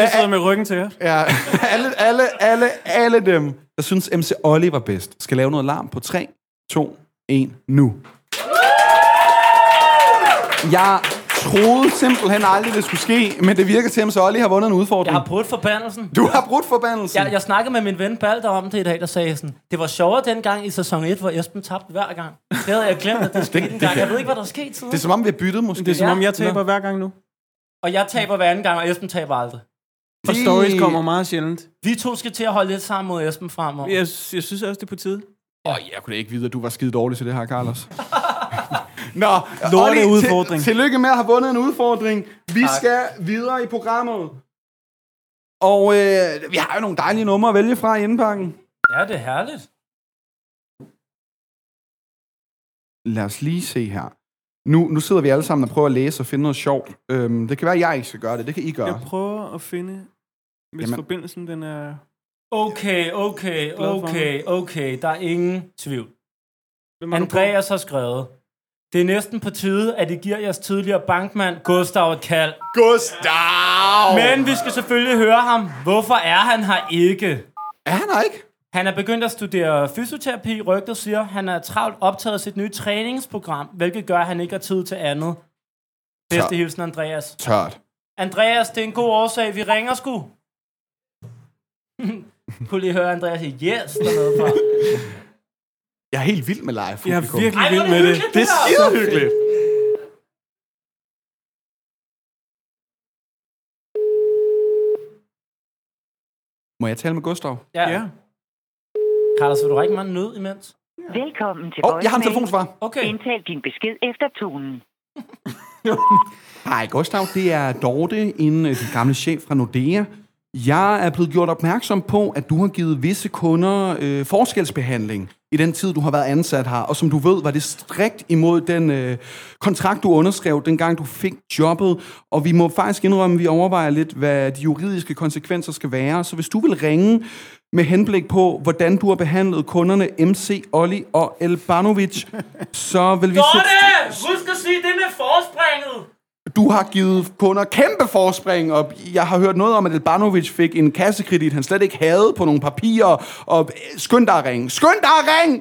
Speaker 4: de sidder med ryggen til jer.
Speaker 2: Ja, alle, alle, alle, alle dem, der synes MC Olli var bedst, skal lave noget larm på 3, 2, 1, nu. Jeg troede simpelthen aldrig, det skulle ske, men det virker til, at MC Olli har vundet en
Speaker 1: Jeg
Speaker 2: udfordring.
Speaker 1: har brudt forbandelsen.
Speaker 2: Du har brudt forbandelsen.
Speaker 1: Jeg, jeg snakkede med min ven Balder om det i dag, der sagde sådan, det var sjovere dengang i sæson 1, hvor Esben tabte hver gang. Det havde jeg glemt, at det skete en gang. Jeg ved ikke, hvad der skete
Speaker 2: Det er
Speaker 1: siden.
Speaker 2: som om, vi har byttet, måske.
Speaker 4: Det er som
Speaker 1: Ja.
Speaker 4: om, jeg taber hver gang nu.
Speaker 1: Og jeg taber hver anden gang, og Esben taber aldrig.
Speaker 4: For stories kommer meget sjældent.
Speaker 1: Vi to skal til at holde lidt sammen mod Esben fremover.
Speaker 4: Jeg, sy- jeg synes også, det er på tide.
Speaker 2: Åh, oh, jeg kunne da ikke vide, at du var skide dårlig til det her, Carlos. Nå,
Speaker 4: Lorte
Speaker 2: Olli, til-
Speaker 4: udfordring.
Speaker 2: tillykke med at have vundet en udfordring. Vi tak. skal videre i programmet. Og øh, vi har jo nogle dejlige numre at vælge fra i indpakken.
Speaker 1: Ja, det er herligt.
Speaker 2: Lad os lige se her. Nu, nu sidder vi alle sammen og prøver at læse og finde noget sjovt. Øhm, det kan være, at jeg ikke skal gøre det. Det kan I gøre.
Speaker 4: Jeg prøver at finde, hvis
Speaker 2: Jamen.
Speaker 4: forbindelsen den er...
Speaker 1: Okay, okay,
Speaker 4: Glad for
Speaker 1: okay, okay. Der er ingen tvivl.
Speaker 4: Hvem er du på?
Speaker 1: Andreas har skrevet, det er næsten på tide, at I giver jeres tidligere bankmand Gustav et kald.
Speaker 2: Gustav!
Speaker 1: Men vi skal selvfølgelig høre ham. Hvorfor er han her ikke?
Speaker 2: Er han her ikke?
Speaker 1: Han er begyndt at studere fysioterapi, rygtet siger. Han er travlt optaget af sit nye træningsprogram, hvilket gør, at han ikke har tid til andet. Bedste hilsen, Andreas.
Speaker 2: Tørt.
Speaker 1: Andreas, det er en god årsag. Vi ringer sgu. Kunne lige høre Andreas sige yes dernede fra.
Speaker 2: Jeg er helt vild med live
Speaker 4: Jeg
Speaker 2: publikum.
Speaker 4: er virkelig vild med det.
Speaker 2: det er skide hyggeligt. Må jeg tale med Gustav? Åh,
Speaker 1: Ja.
Speaker 4: Ja.
Speaker 1: ja. Carlos, vil du række mig en nød imens?
Speaker 11: Velkommen til
Speaker 2: oh, jeg har en telefonsvar.
Speaker 1: Okay.
Speaker 11: Indtal din besked efter tonen.
Speaker 2: Hej Gustav, det er Dorte, en øh, den gamle chef fra Nordea. Jeg er blevet gjort opmærksom på, at du har givet visse kunder øh, forskelsbehandling i den tid, du har været ansat her. Og som du ved, var det strikt imod den øh, kontrakt, du underskrev, dengang du fik jobbet. Og vi må faktisk indrømme, at vi overvejer lidt, hvad de juridiske konsekvenser skal være. Så hvis du vil ringe med henblik på, hvordan du har behandlet kunderne MC, Olli og Elbanovic, så vil vi...
Speaker 1: Husk at sige det med forspringet!
Speaker 2: Du har givet kunder kæmpe forspring, og jeg har hørt noget om, at Elbanovic fik en kassekredit, han slet ikke havde på nogle papirer, og øh, skynd dig at ringe. Skynd dig at ringe!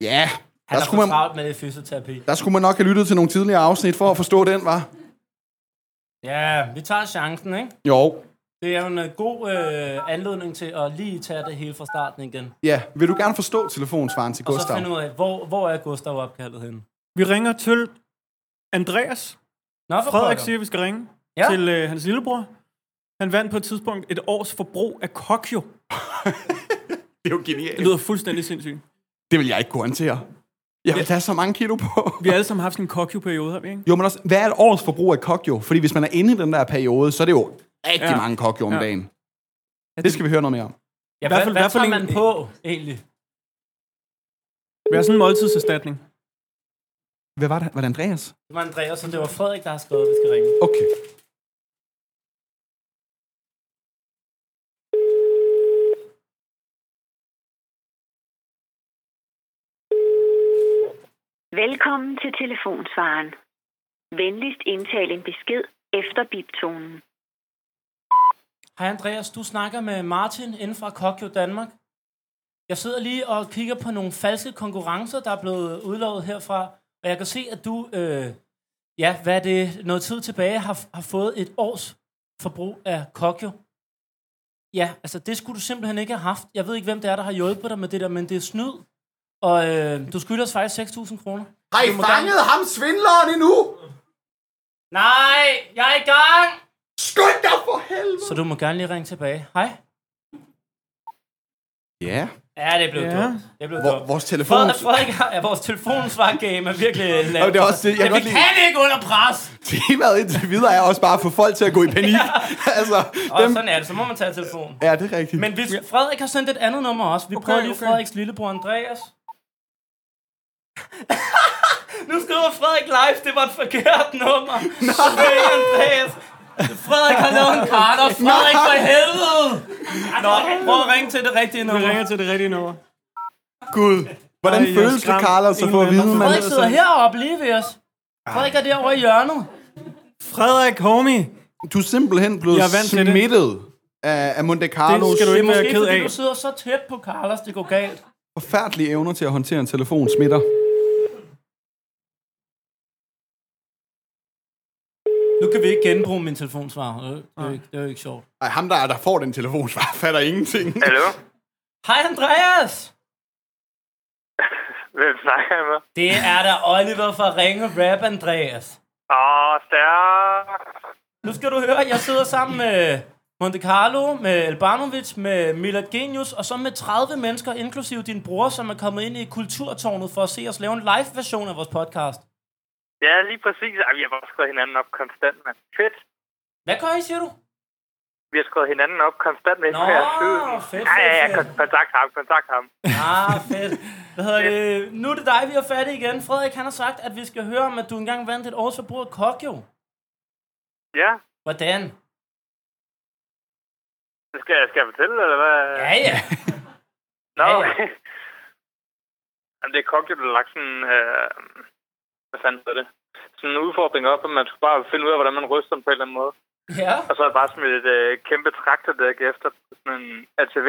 Speaker 2: Ja,
Speaker 1: Han
Speaker 2: der
Speaker 1: er for
Speaker 2: skulle, man,
Speaker 1: travlt med det fysioterapi.
Speaker 2: der skulle man nok have lyttet til nogle tidligere afsnit for at forstå den, var.
Speaker 1: Ja, vi tager chancen, ikke?
Speaker 2: Jo.
Speaker 1: Det er jo en øh, god øh, anledning til at lige tage det hele fra starten igen.
Speaker 2: Ja, vil du gerne forstå telefonsvaren til
Speaker 1: Og så
Speaker 2: Gustav?
Speaker 1: finde ud af, hvor, hvor er Gustav opkaldet henne?
Speaker 4: Vi ringer til Andreas.
Speaker 1: Nå, for
Speaker 4: Frederik
Speaker 1: pokker.
Speaker 4: siger, at vi skal ringe ja.
Speaker 1: Ja.
Speaker 4: til øh, hans lillebror. Han vandt på et tidspunkt et års forbrug af kokjo.
Speaker 2: Det er jo
Speaker 4: Det
Speaker 2: genialt.
Speaker 4: lyder fuldstændig sindssygt.
Speaker 2: Det vil jeg ikke kunne håndtere. Jeg vil tage så mange kilo på.
Speaker 4: Vi har alle sammen haft sådan en kokjo-periode, har vi ikke?
Speaker 2: Jo, men også, hvad er et års forbrug af kokjo? Fordi hvis man er inde i den der periode, så er det jo rigtig
Speaker 4: Ja.
Speaker 2: ja. mange kokjo om
Speaker 4: Ja.
Speaker 2: ja. dagen. Det skal vi høre noget mere om.
Speaker 1: Ja,
Speaker 4: hvert
Speaker 1: hvad,
Speaker 4: fald-
Speaker 1: hvad
Speaker 4: hvert fald
Speaker 1: tager
Speaker 4: en-
Speaker 1: man på, egentlig?
Speaker 4: Vi har sådan en måltidserstatning.
Speaker 2: Hvad var det? Var det Andreas?
Speaker 1: Det var Andreas, og det var Frederik, der har skrevet, at vi skal ringe.
Speaker 2: Okay.
Speaker 11: Velkommen til telefonsvaren. Venligst indtal en besked efter biptonen.
Speaker 1: Hej Andreas, du snakker med Martin inden fra Kokjo Danmark. Jeg sidder lige og kigger på nogle falske konkurrencer, der er blevet udlovet herfra, og jeg kan se, at du, øh, ja, hvad er det, noget tid tilbage har, har fået et års forbrug af Kokjo. Ja, altså det skulle du simpelthen ikke have haft. Jeg ved ikke, hvem det er, der har hjulpet dig med det der, men det er snyd. Og øh, du skylder os faktisk 6.000 kroner.
Speaker 2: Har I fanget ham svindleren endnu?
Speaker 1: Nej, jeg er i gang!
Speaker 2: Skynd dig for helvede!
Speaker 1: Så du må gerne lige ringe tilbage. Hej.
Speaker 2: Ja,
Speaker 1: Ja, det blev
Speaker 4: Ja.
Speaker 1: ja. dumt. Det blev
Speaker 2: Vor,
Speaker 1: dumt.
Speaker 2: vores telefon...
Speaker 1: Frederik, Frederik har, ja, vores telefonsvar-game er virkelig lavt.
Speaker 2: det er også det, jeg
Speaker 1: Men
Speaker 2: kan
Speaker 1: vi
Speaker 2: godt lide-
Speaker 1: kan ikke under pres.
Speaker 2: Temaet indtil videre er også bare at få folk til at gå i panik. altså,
Speaker 1: Og
Speaker 2: dem...
Speaker 1: sådan er det, så må man tage telefonen.
Speaker 2: Ja, det er rigtigt.
Speaker 1: Men vi, Frederik har sendt et andet nummer også. Vi okay, prøver lige
Speaker 4: okay.
Speaker 1: okay. Frederiks lillebror Andreas. nu skriver Frederik live, det var et forkert nummer. Så det er Andreas. Frederik har lavet en kart, og Frederik for helvede! Nå, prøv at ringe til det rigtige
Speaker 4: Vi
Speaker 1: nummer.
Speaker 4: ringer til det rigtige nummer.
Speaker 2: Gud. Hvordan
Speaker 4: Ej, jeg
Speaker 2: føles det,
Speaker 4: skræmt.
Speaker 2: Carlos, at få at
Speaker 4: Ingen
Speaker 2: vide,
Speaker 4: venner.
Speaker 2: man...
Speaker 1: Frederik sidder heroppe lige ved os. Frederik er derovre i hjørnet.
Speaker 4: Frederik, homie!
Speaker 2: Du er simpelthen blevet
Speaker 4: Jeg er vant til det.
Speaker 2: smittet af, af Monte Carlos
Speaker 4: Det skal du
Speaker 1: Det
Speaker 4: ikke
Speaker 1: er
Speaker 4: være
Speaker 1: måske
Speaker 4: ked
Speaker 1: fordi,
Speaker 4: af.
Speaker 1: du sidder så tæt på Carlos, det går galt.
Speaker 2: forfærdelige evner til at håndtere en telefon smitter.
Speaker 1: Nu kan vi ikke genbruge min telefonsvar. Det er, det er, jo ikke, det er jo ikke sjovt.
Speaker 2: Ej, ham der, er, der får den telefon, fatter ingenting.
Speaker 5: Hallo?
Speaker 1: Hej Andreas!
Speaker 5: Hvem snakker jeg med?
Speaker 1: Det er da Oliver fra Ringe Rap, Andreas.
Speaker 5: Åh, stærk.
Speaker 1: Nu skal du høre, jeg sidder sammen med Monte Carlo, med Elbanovic, med Milad Genius, og så med 30 mennesker, inklusive din bror, som er kommet ind i Kulturtårnet for at se os lave en live-version af vores podcast.
Speaker 5: Ja, lige præcis. Ej, vi har bare skrevet hinanden op konstant, mand. Fedt.
Speaker 1: Hvad gør I, siger du?
Speaker 5: Vi har skrevet hinanden op konstant med
Speaker 1: Nå, fedt, fedt,
Speaker 5: Ja, ja, ja,
Speaker 1: fedt.
Speaker 5: kon- kontakt ham, kontakt ham.
Speaker 1: Ah, fedt. Hvad hedder det? Nu er det dig, vi har fat i igen. Frederik, han har sagt, at vi skal høre om, at du engang vandt et års forbrug af kokjo.
Speaker 5: Ja,
Speaker 1: Hvordan?
Speaker 5: det skal, jeg- skal jeg fortælle, eller hvad?
Speaker 1: Ja, ja.
Speaker 5: Nå,
Speaker 1: ja, ja.
Speaker 5: okay. Jamen, det er kogt, der har lagt sådan, øh, hvad fanden hedder det? Sådan en udfordring op, at man skulle bare finde ud af, hvordan man ryster den på en eller anden måde.
Speaker 1: Ja.
Speaker 5: Og så er jeg bare smidt et øh, kæmpe traktordæk efter på sådan en ATV.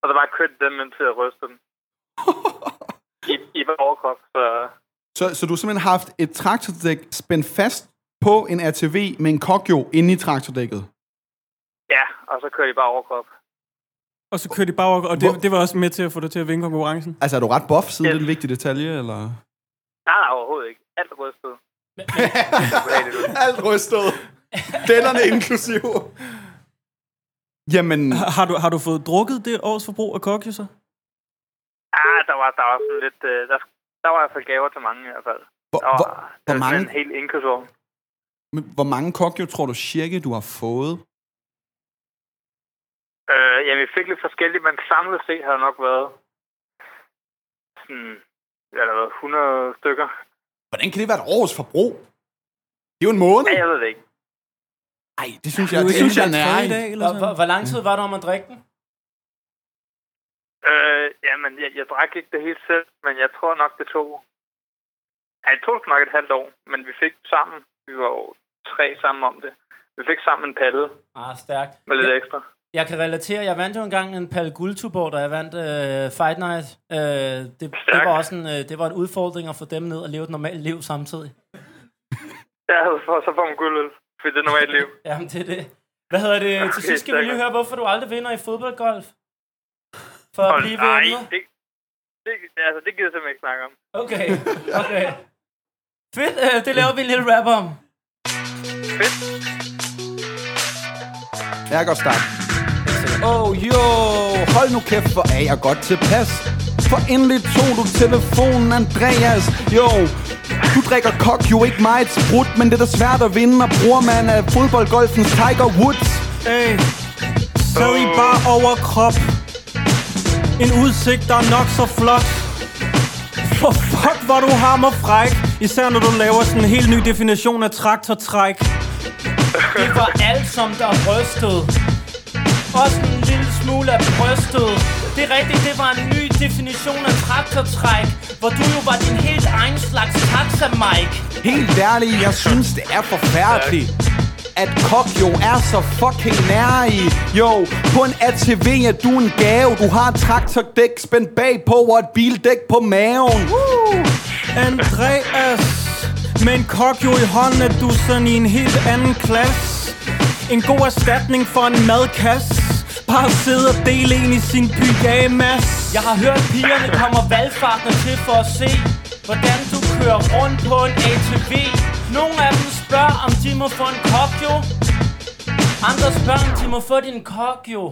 Speaker 5: Og så bare kørt den, indtil jeg rystede den. I, i bare overkrop, så...
Speaker 2: Så, så du har simpelthen haft et traktordæk spændt fast på en ATV med en kokjo inde i traktordækket?
Speaker 5: Ja, og så kører de bare overkrop.
Speaker 4: Og så kører de bagover, og
Speaker 2: Hvor-
Speaker 4: det, det var også med til at få dig til at vinde konkurrencen.
Speaker 2: Altså, er du ret buff, siden det er en vigtig detalje, eller?
Speaker 12: Nej, nej, overhovedet ikke. Alt er rystet. Goddag, det er du.
Speaker 2: Alt rystet. Dennerne inklusiv. Jamen,
Speaker 4: Har du, har du fået drukket det års forbrug af kokjusser?
Speaker 12: Ah, der var, der var sådan lidt... Øh, der, der var i hvert fald gaver til mange i hvert fald.
Speaker 2: hvor,
Speaker 12: Der var,
Speaker 2: hvor, hvor,
Speaker 12: der var
Speaker 2: mange,
Speaker 12: en hel indkøbsvogn.
Speaker 2: men hvor mange kokjo tror du cirka, du har fået?
Speaker 12: Øh, jamen, vi fik lidt forskelligt, men samlet set har der nok været... Sådan, ja, der har været 100 stykker.
Speaker 2: Hvordan kan det være et års forbrug? Det er jo en måned.
Speaker 12: Ja, jeg ved det ikke.
Speaker 2: Nej, det synes
Speaker 4: Det
Speaker 2: jeg,
Speaker 4: er jo
Speaker 2: det
Speaker 4: ikke
Speaker 2: synes jeg er
Speaker 4: en dag i
Speaker 2: næring.
Speaker 4: dag, eller
Speaker 1: Hvor, hvor,
Speaker 4: sådan.
Speaker 1: hvor lang tid var du om at drikke den?
Speaker 12: Øh, jamen, jeg, jeg drak ikke det helt selv, men jeg tror nok, det tog... Ja, det tog sgu nok et halvt år, men vi fik sammen... Vi var jo tre sammen om det. Vi fik sammen en palle
Speaker 1: Ah, stærkt.
Speaker 12: med lidt
Speaker 1: Jeg,
Speaker 12: ekstra.
Speaker 1: jeg kan relatere. Jeg vandt jo engang en Pal Guldtuborg, da jeg vandt øh, Fight Night. Øh, det, det, var også en, øh, det var en udfordring at få dem ned og leve et normalt liv samtidig.
Speaker 12: Ja, så- så får man guldøl. Fordi det er normalt liv.
Speaker 1: Jamen, det er det. Hvad hedder det? Til
Speaker 12: Okay,
Speaker 1: sidst skal vi lige
Speaker 12: stærkt.
Speaker 1: høre, hvorfor du aldrig vinder i fodboldgolf? For at
Speaker 12: Hold-
Speaker 1: blive
Speaker 12: nej,
Speaker 1: ved emnet?
Speaker 12: det, det, altså, det gider jeg simpelthen ikke snakke om.
Speaker 1: Okay, okay. Fedt, øh, det laver vi en lille rap om.
Speaker 2: Jeg kan godt starte. Oh jo, hold nu kæft, hvor er jeg godt tilpas. For endelig tog du telefonen, Andreas. Jo, du drikker kok, jo ikke mig et sprut, men det er da svært at vinde, og bruger man af fodboldgolfens Tiger Woods.
Speaker 4: Hey, sad i bare overkrop. En udsigt, der er nok så flot. For fuck, hvor du hammer fræk. Især når du laver sådan en helt ny definition af traktortræk.
Speaker 1: Det var alt, som der er rystet. Også en lille smule af brystet. Det er rigtigt, det var en ny definition af traktortræk, hvor du jo var din helt egen slags taxa, Mike.
Speaker 2: Helt ærligt, jeg synes, det er forfærdeligt. At kok jo er så fucking nær i Jo, på en ATV er du en gave Du har et traktordæk spændt bagpå Og et bildæk på maven Woo!
Speaker 4: Andreas Med en kok jo i hånden er du sådan i en helt anden klasse En god erstatning for en madkasse Bare sidde og dele en i sin pyjamas
Speaker 1: Jeg har hørt, pigerne kommer valgfartende til for at se, hvordan du kører rundt på en ATV. Nogle af dem spørger, om de må få en kok, jo. Andre spørger, om de må få din kok, jo.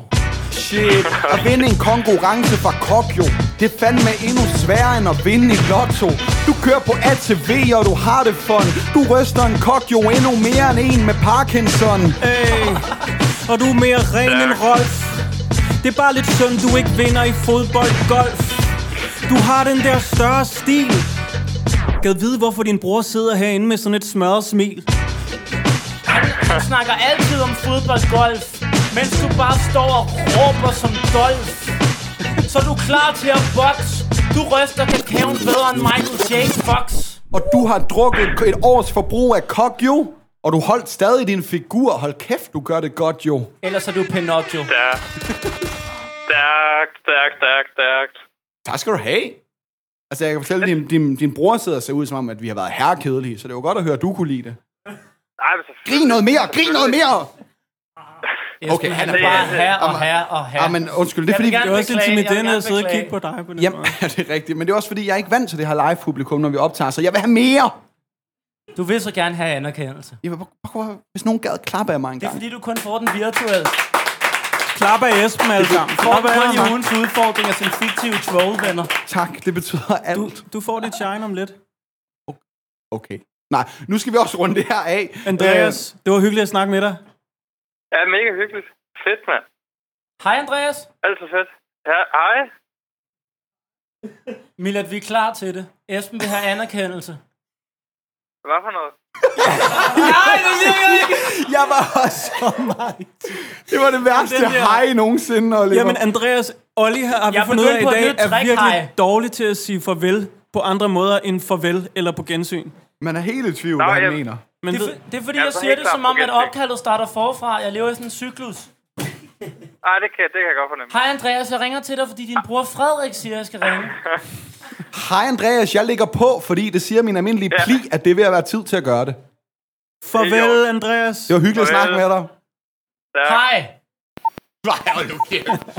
Speaker 2: Shit At vinde en konkurrence fra kok jo Det er fandme endnu sværere end at vinde i lotto Du kører på ATV og du har det fun Du ryster en kok jo endnu mere end en med Parkinson
Speaker 4: hey. Og du er mere ren end Rolf Det er bare lidt synd, du ikke vinder i fodbold golf Du har den der større stil Gad vide, hvorfor din bror sidder herinde med sådan et smørret smil
Speaker 1: Du snakker altid om fodboldgolf, mens du bare står og råber som Dolf. Så er du klar til at boxe. Du ryster kakaoen bedre end Michael J. Fox.
Speaker 2: Og du har drukket et års forbrug af kok, jo. Og du holdt stadig din figur. Hold kæft, du gør det godt, jo.
Speaker 1: Ellers er du Pinocchio.
Speaker 12: Ja. Stærkt, stærkt, stærkt, stærkt.
Speaker 2: Tak skal du have. Altså, jeg kan fortælle, at din, din, din bror sidder og ser ud som om, at vi har været herrekedelige. Så det var godt at høre, at du kunne lide det.
Speaker 12: Nej, men selvfølgelig.
Speaker 2: Grin noget mere! Grin noget mere!
Speaker 1: Jeg
Speaker 2: Okay,
Speaker 1: skulle-
Speaker 2: han er
Speaker 1: bare
Speaker 2: bare-
Speaker 1: herre og
Speaker 2: Jamen- øh,
Speaker 1: herre og herre.
Speaker 2: Ja, men undskyld, det er
Speaker 1: Jeg
Speaker 2: fordi...
Speaker 1: vil
Speaker 4: Det er også
Speaker 1: Beklage, jeg vil
Speaker 4: intimiderende
Speaker 1: gerne
Speaker 4: at sidde og
Speaker 1: beklage.
Speaker 4: kigge på dig på den
Speaker 2: Jamen,
Speaker 4: måde
Speaker 2: ja, det er rigtigt. Men det er også fordi, jeg er ikke vant til det her live-publikum, når vi optager, så jeg vil have mere!
Speaker 1: Du vil så gerne have anerkendelse.
Speaker 2: Jeg vil, bare- hvis nogen gad klappe af mig en
Speaker 1: Det er
Speaker 2: gang.
Speaker 1: fordi, du kun får den virtuelt.
Speaker 4: Klap af Esben alle sammen
Speaker 1: Og
Speaker 4: Klap af
Speaker 1: kun i
Speaker 4: ham.
Speaker 1: ugens udfordringer som fiktive trollvenner.
Speaker 2: Tak, det betyder alt.
Speaker 4: Du, du får dit shine om lidt.
Speaker 2: Okay. Nej, nu skal vi også runde det her af.
Speaker 4: Andreas, det var hyggeligt at snakke med dig.
Speaker 12: Ja, mega hyggeligt. Fedt, mand.
Speaker 1: Hej Andreas.
Speaker 12: Alt for fedt. Ja, hej.
Speaker 1: Milad, vi er klar til det. Esben vil have anerkendelse.
Speaker 12: Hvad for noget?
Speaker 2: Øh, jeg var også så meget... Det var det værste
Speaker 4: Den der-
Speaker 2: hej nogensinde, Oliver.
Speaker 4: Jamen, Andreas, Olli har, har vi
Speaker 1: Jeg
Speaker 4: fundet ud af i
Speaker 1: begyndte på et
Speaker 4: dag,
Speaker 1: nyt
Speaker 4: er
Speaker 1: trick, hej.
Speaker 4: virkelig dårlig til at sige farvel på andre måder end farvel eller på gensyn.
Speaker 2: Man er helt i tvivl, hvad han
Speaker 12: jeg-
Speaker 2: mener.
Speaker 4: Men
Speaker 1: Det er,
Speaker 4: ved,
Speaker 1: for- det er fordi,
Speaker 12: Jeg er
Speaker 1: jeg
Speaker 12: så
Speaker 1: siger
Speaker 12: helt
Speaker 1: det
Speaker 12: klar
Speaker 1: som
Speaker 12: på
Speaker 1: om, at
Speaker 12: gennemtænkt.
Speaker 1: opkaldet starter forfra. Jeg lever i sådan en cyklus.
Speaker 12: Ej, det kan, det kan jeg godt fornemme.
Speaker 1: Hej Andreas, jeg ringer til dig, fordi din bror Frederik siger, jeg skal ringe.
Speaker 2: Hej Andreas, jeg ligger på, fordi det siger min almindelige pli, at det er ved at være tid til at gøre det.
Speaker 4: farvel, Andreas.
Speaker 2: Det var hyggeligt at
Speaker 12: Farvel.
Speaker 2: snakke med dig.
Speaker 12: Stærkt.
Speaker 1: Hej.
Speaker 2: Nej, hold nu kæft.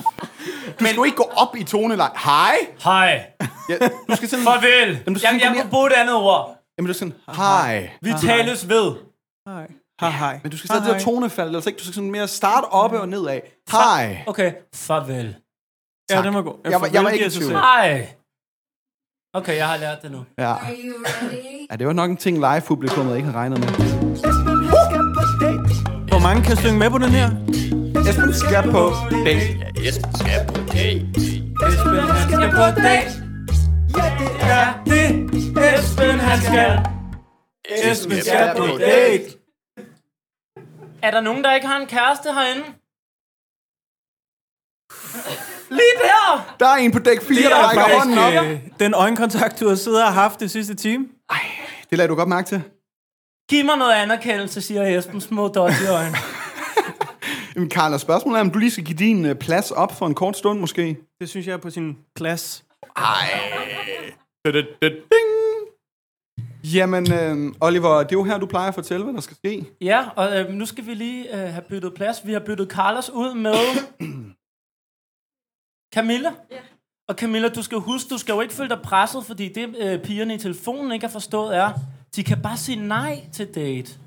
Speaker 2: Du skal jo ikke gå op i toneleje. Hej.
Speaker 1: Hej.
Speaker 2: Ja, du skal sådan...
Speaker 1: Farvel.
Speaker 2: Jamen, du skal
Speaker 1: jeg, jeg
Speaker 2: sådan gå
Speaker 1: kunne bruge et andet ord.
Speaker 2: Jamen, du er sådan, hej.
Speaker 1: Vi tales ved.
Speaker 4: Hej. Hej, hej.
Speaker 2: Men du skal stadig have det der tonefald, ellers ikke? Du skal sådan mere starte oppe og nedad. Hej.
Speaker 1: Okay, farvel.
Speaker 4: Ja, den var god.
Speaker 2: Jeg var- jeg var ikke i tvivl.
Speaker 1: Hej. Okay, jeg har lært det nu.
Speaker 2: Ja. ja, det var nok en ting, live-publikummet ikke havde regnet med.
Speaker 4: Hvor mange kan synge med på den her?
Speaker 2: Esben skal på date.
Speaker 1: Esben skal på date. Esben han skal på date. Ja, det er det. Esben han skal. Esben skal på date. Er der nogen, der ikke har en kæreste herinde? Lige der!
Speaker 2: Der er en på dæk 4,
Speaker 4: Det
Speaker 2: der
Speaker 4: er
Speaker 2: rækker
Speaker 4: faktisk,
Speaker 2: hånden op.
Speaker 4: øh, den øjenkontakt, du har siddet og haft det sidste time.
Speaker 2: Det lader du godt mærke til.
Speaker 1: Giv mig noget anerkendelse, siger Esben. Små dodgy øjne.
Speaker 2: Jamen, Karl, og spørgsmålet er, om du lige skal give din øh, plads op for en kort stund, måske?
Speaker 4: Det synes jeg er på sin plads.
Speaker 2: Jamen, øh, Oliver, det er jo her, du plejer at fortælle, hvad der skal ske.
Speaker 1: Ja, og øh, nu skal vi lige øh, have byttet plads. Vi har byttet Carlos ud med Camilla. Ja. Og Camilla, du skal huske, du skal jo ikke føle dig presset, fordi det øh, pigerne i telefonen ikke har forstået er, de kan bare sige nej til date.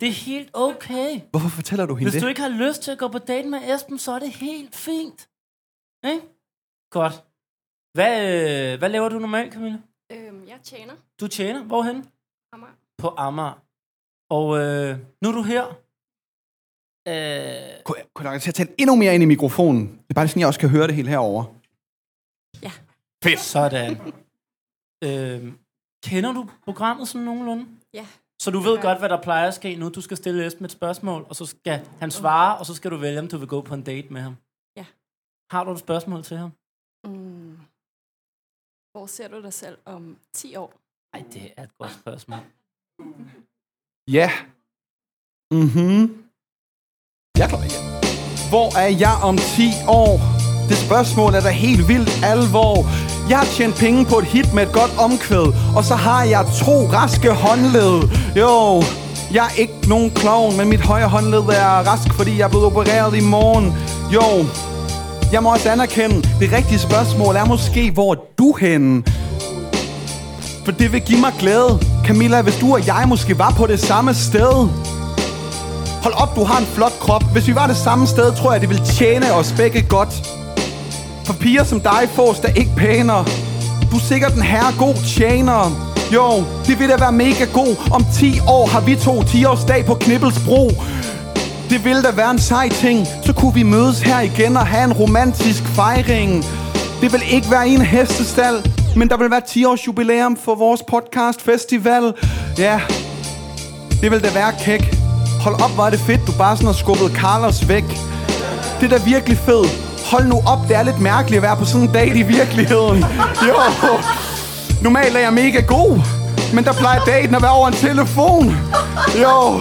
Speaker 1: Det er helt okay.
Speaker 2: Hvorfor fortæller du hende
Speaker 1: Hvis
Speaker 2: det?
Speaker 1: du ikke har lyst til at gå på date med Esben, så er det helt fint. Ikke? Godt. Hvad, øh, hvad laver du normalt, Camilla?
Speaker 7: Øhm, jeg tjener.
Speaker 1: Du tjener. Hvorhen?
Speaker 7: Amager.
Speaker 1: På Amager. Og øh, nu er du her. Øh,
Speaker 2: Kunne, kunne du til at tale endnu mere ind i mikrofonen? Det er bare sådan, jeg også kan høre det hele herovre.
Speaker 1: Fedt. Sådan. øhm, kender du programmet sådan nogenlunde?
Speaker 7: Ja.
Speaker 1: Så du ved godt, hvad der plejer at ske nu. Du skal stille Esben et spørgsmål, og så skal han svare, og så skal du vælge, om du vil gå på en date med ham.
Speaker 7: Ja.
Speaker 1: Har du et spørgsmål til ham?
Speaker 7: Mm. Hvor ser du dig selv om 10 år?
Speaker 1: Nej, det er et godt spørgsmål.
Speaker 2: Ja. Mhm. Jeg tror ikke. Hvor er jeg om 10 år? Det spørgsmål er da helt vildt alvor. Jeg har tjent penge på et hit med et godt omkvæd, og så har jeg to raske håndled. Jo, jeg er ikke nogen klovn, men mit højre håndled er rask, fordi jeg er blevet opereret i morgen. Jo, jeg må også anerkende, det rigtige spørgsmål er måske, hvor er du henne? For det vil give mig glæde Camilla, hvis du og jeg måske var på det samme sted Hold op, du har en flot krop Hvis vi var det samme sted, tror jeg, det ville tjene os begge godt For piger som dig fås der ikke pænere Du er sikkert en herre god tjener Jo, det vil da være mega god Om 10 år har vi to 10-årsdag på Knibbelsbro det ville da være en sej ting Så kunne vi mødes her igen og have en romantisk fejring Det vil ikke være i en hestestal Men der vil være 10 års jubilæum for vores podcast festival Ja Det vil da være kæk Hold op, hvor er det fedt, du bare sådan har skubbet Carlos væk Det er da virkelig fedt Hold nu op, det er lidt mærkeligt at være på sådan en date i virkeligheden Jo Normalt er jeg mega god Men der plejer daten at være over en telefon Jo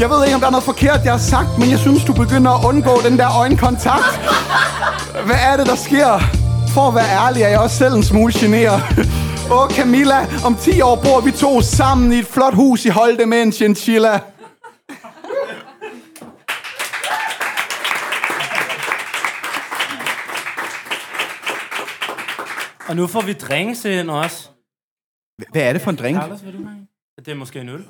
Speaker 2: Jeg ved ikke, om der er noget forkert, jeg har sagt Men jeg synes, du begynder at undgå den der øjenkontakt Hvad er det, der sker? For at være ærlig, er jeg også selv en smule generet Åh, Camilla, om 10 år bor vi to sammen i et flot hus i Holte med en chinchilla.
Speaker 1: Og nu får vi drinks ind også.
Speaker 2: Hvad er det for en drink?
Speaker 1: Carlos, vil du have en? Det er måske en øl.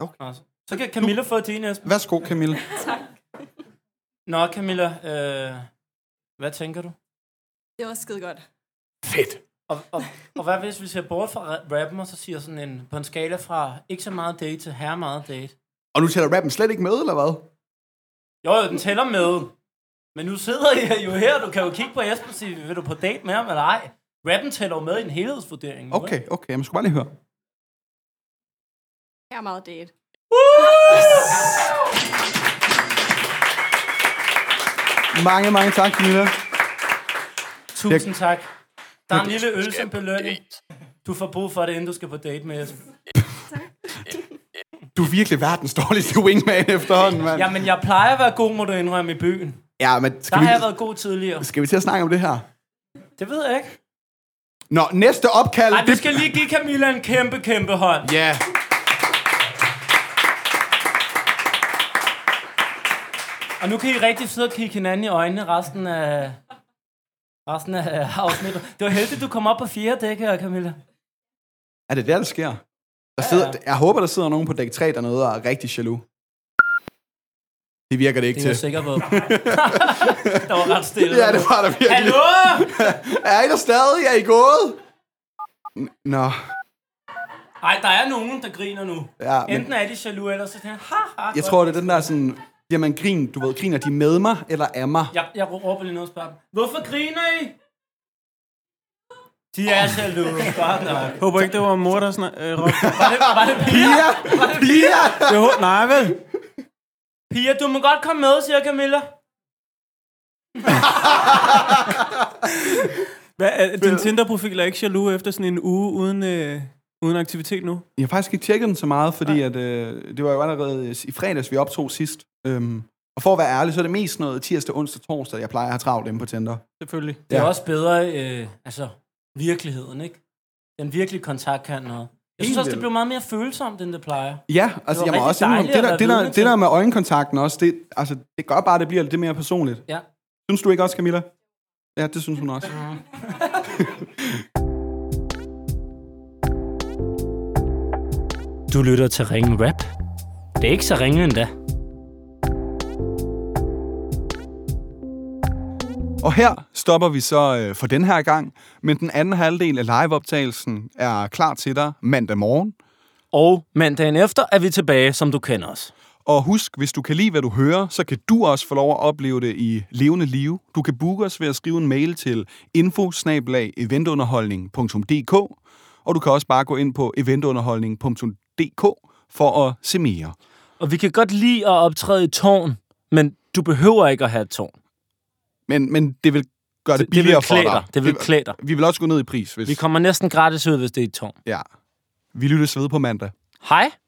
Speaker 1: Okay. Så kan Camilla få din, Esben.
Speaker 2: Værsgo, Camilla.
Speaker 7: Tak.
Speaker 1: Nå, Camilla, øh, hvad tænker du?
Speaker 7: Det var skide godt.
Speaker 1: Og, og, og hvad hvis vi ser bort fra ra- rappen, og så siger sådan en, på en skala fra ikke så meget date til her meget date?
Speaker 2: Og nu tæller rappen slet ikke med, eller hvad?
Speaker 1: Jo, jo, den tæller med. Men nu sidder I jo her, du kan jo kigge på Esben og sige, vil du på date med ham eller ej? Rappen tæller jo med i en helhedsvurdering. nu,
Speaker 2: Okay, okay, jeg skulle bare lige høre.
Speaker 7: Jeg er meget date.
Speaker 2: Mange, mange tak, Camilla.
Speaker 1: Tusind tak. Der er en lille øl som belønning. Du får brug for det, inden du skal på date med Esben.
Speaker 2: Du er virkelig verdens dårligste wingman efterhånden, mand.
Speaker 1: Jamen, jeg plejer at være god, må du indrømme, i byen.
Speaker 2: Ja, men
Speaker 1: Der
Speaker 2: skal vi,
Speaker 1: har jeg været god tidligere.
Speaker 2: skal vi til at snakke om det her?
Speaker 1: Det ved jeg ikke.
Speaker 2: Nå, næste opkald...
Speaker 1: Ej, vi skal lige give Camilla en kæmpe, kæmpe hånd.
Speaker 2: Ja.
Speaker 1: Og nu kan I rigtig sidde og kigge hinanden i øjnene resten af, Resten af afsnittet. Det var heldigt, du kom op på fjerde dæk her, Camilla.
Speaker 2: Er det der, der sker? Der sidder, Jeg håber, der sidder nogen på dæk 3 dernede og er rigtig jaloux. Det virker det ikke
Speaker 1: Det er jeg
Speaker 2: til.
Speaker 1: sikker på. der var ret stille.
Speaker 2: Ja, det var der virkelig.
Speaker 1: Hallo?
Speaker 2: er I der stadig? Er I gået? N- Nå.
Speaker 1: Ej, der er nogen, der griner nu.
Speaker 2: Ja, men-
Speaker 1: Enten er de jaloux, eller så tænker ha, ha,
Speaker 2: Jeg
Speaker 1: godt.
Speaker 2: tror, det er den der sådan... Jamen, grin, du ved, griner de med mig eller af mig?
Speaker 1: Jeg, jeg råber lige noget og spørger dem. Hvorfor griner I? De er jaloux. Godt nok.
Speaker 4: Håber ikke, det var mor, der snak, øh, råbte.
Speaker 1: Var det, var det piger? Var det
Speaker 4: Det hå- nej, vel?
Speaker 1: Pia, du må godt komme med, siger Camilla.
Speaker 4: Hvad, er, din Tinder-profil er ikke jaloux efter sådan en uge uden, øh, uden aktivitet nu?
Speaker 2: Jeg har faktisk ikke tjekket den så meget, fordi at, øh, det var jo allerede i fredags, vi optog sidst. Øhm, og for at være ærlig, så er det mest noget tirsdag, onsdag, torsdag, jeg plejer at have travlt inde på Tinder.
Speaker 4: Selvfølgelig.
Speaker 1: Det er
Speaker 2: Ja.
Speaker 1: også bedre, øh, altså, virkeligheden, ikke? Den virkelige kontakt kan noget. Jeg synes
Speaker 2: Helt
Speaker 1: også, det
Speaker 2: vildt.
Speaker 1: blev meget mere følsomt, end det plejer.
Speaker 2: Ja,
Speaker 1: Det var
Speaker 2: altså jeg må
Speaker 1: rigtig
Speaker 2: også indrømme,
Speaker 1: dejligt
Speaker 2: det
Speaker 1: at
Speaker 2: der,
Speaker 1: være
Speaker 2: det, der,
Speaker 1: vidne
Speaker 2: det der med øjenkontakten også, det, altså, det gør bare, at det bliver lidt mere personligt.
Speaker 1: Ja.
Speaker 2: Synes du ikke også, Camilla? Ja, det synes hun også.
Speaker 1: Du lytter til Ringen Rap. Det er ikke så ringe endda.
Speaker 8: Og her stopper vi så øh, for den her gang, men den anden halvdel af liveoptagelsen er klar til dig mandag morgen.
Speaker 1: Og mandagen efter er vi tilbage, som du kender os.
Speaker 8: Og husk, hvis du kan lide, hvad du hører, så kan du også få lov at opleve det i levende live. Du kan booke os ved at skrive en mail til info-eventunderholdning.dk og du kan også bare gå ind på eventunderholdning.dk for at se mere.
Speaker 1: Og vi kan godt lide at optræde i tårn, men du behøver ikke at have et tårn.
Speaker 2: Men, men det vil gøre
Speaker 1: Det-
Speaker 2: det
Speaker 1: det vil
Speaker 2: billigere for
Speaker 1: klæde
Speaker 2: dig.
Speaker 1: dig. Det vil klæde dig.
Speaker 2: Vi vil også gå ned i pris, hvis...
Speaker 1: Vi kommer næsten gratis ud, hvis det er et tårn.
Speaker 2: Ja. Vi lyttes ved på mandag.
Speaker 1: Hej!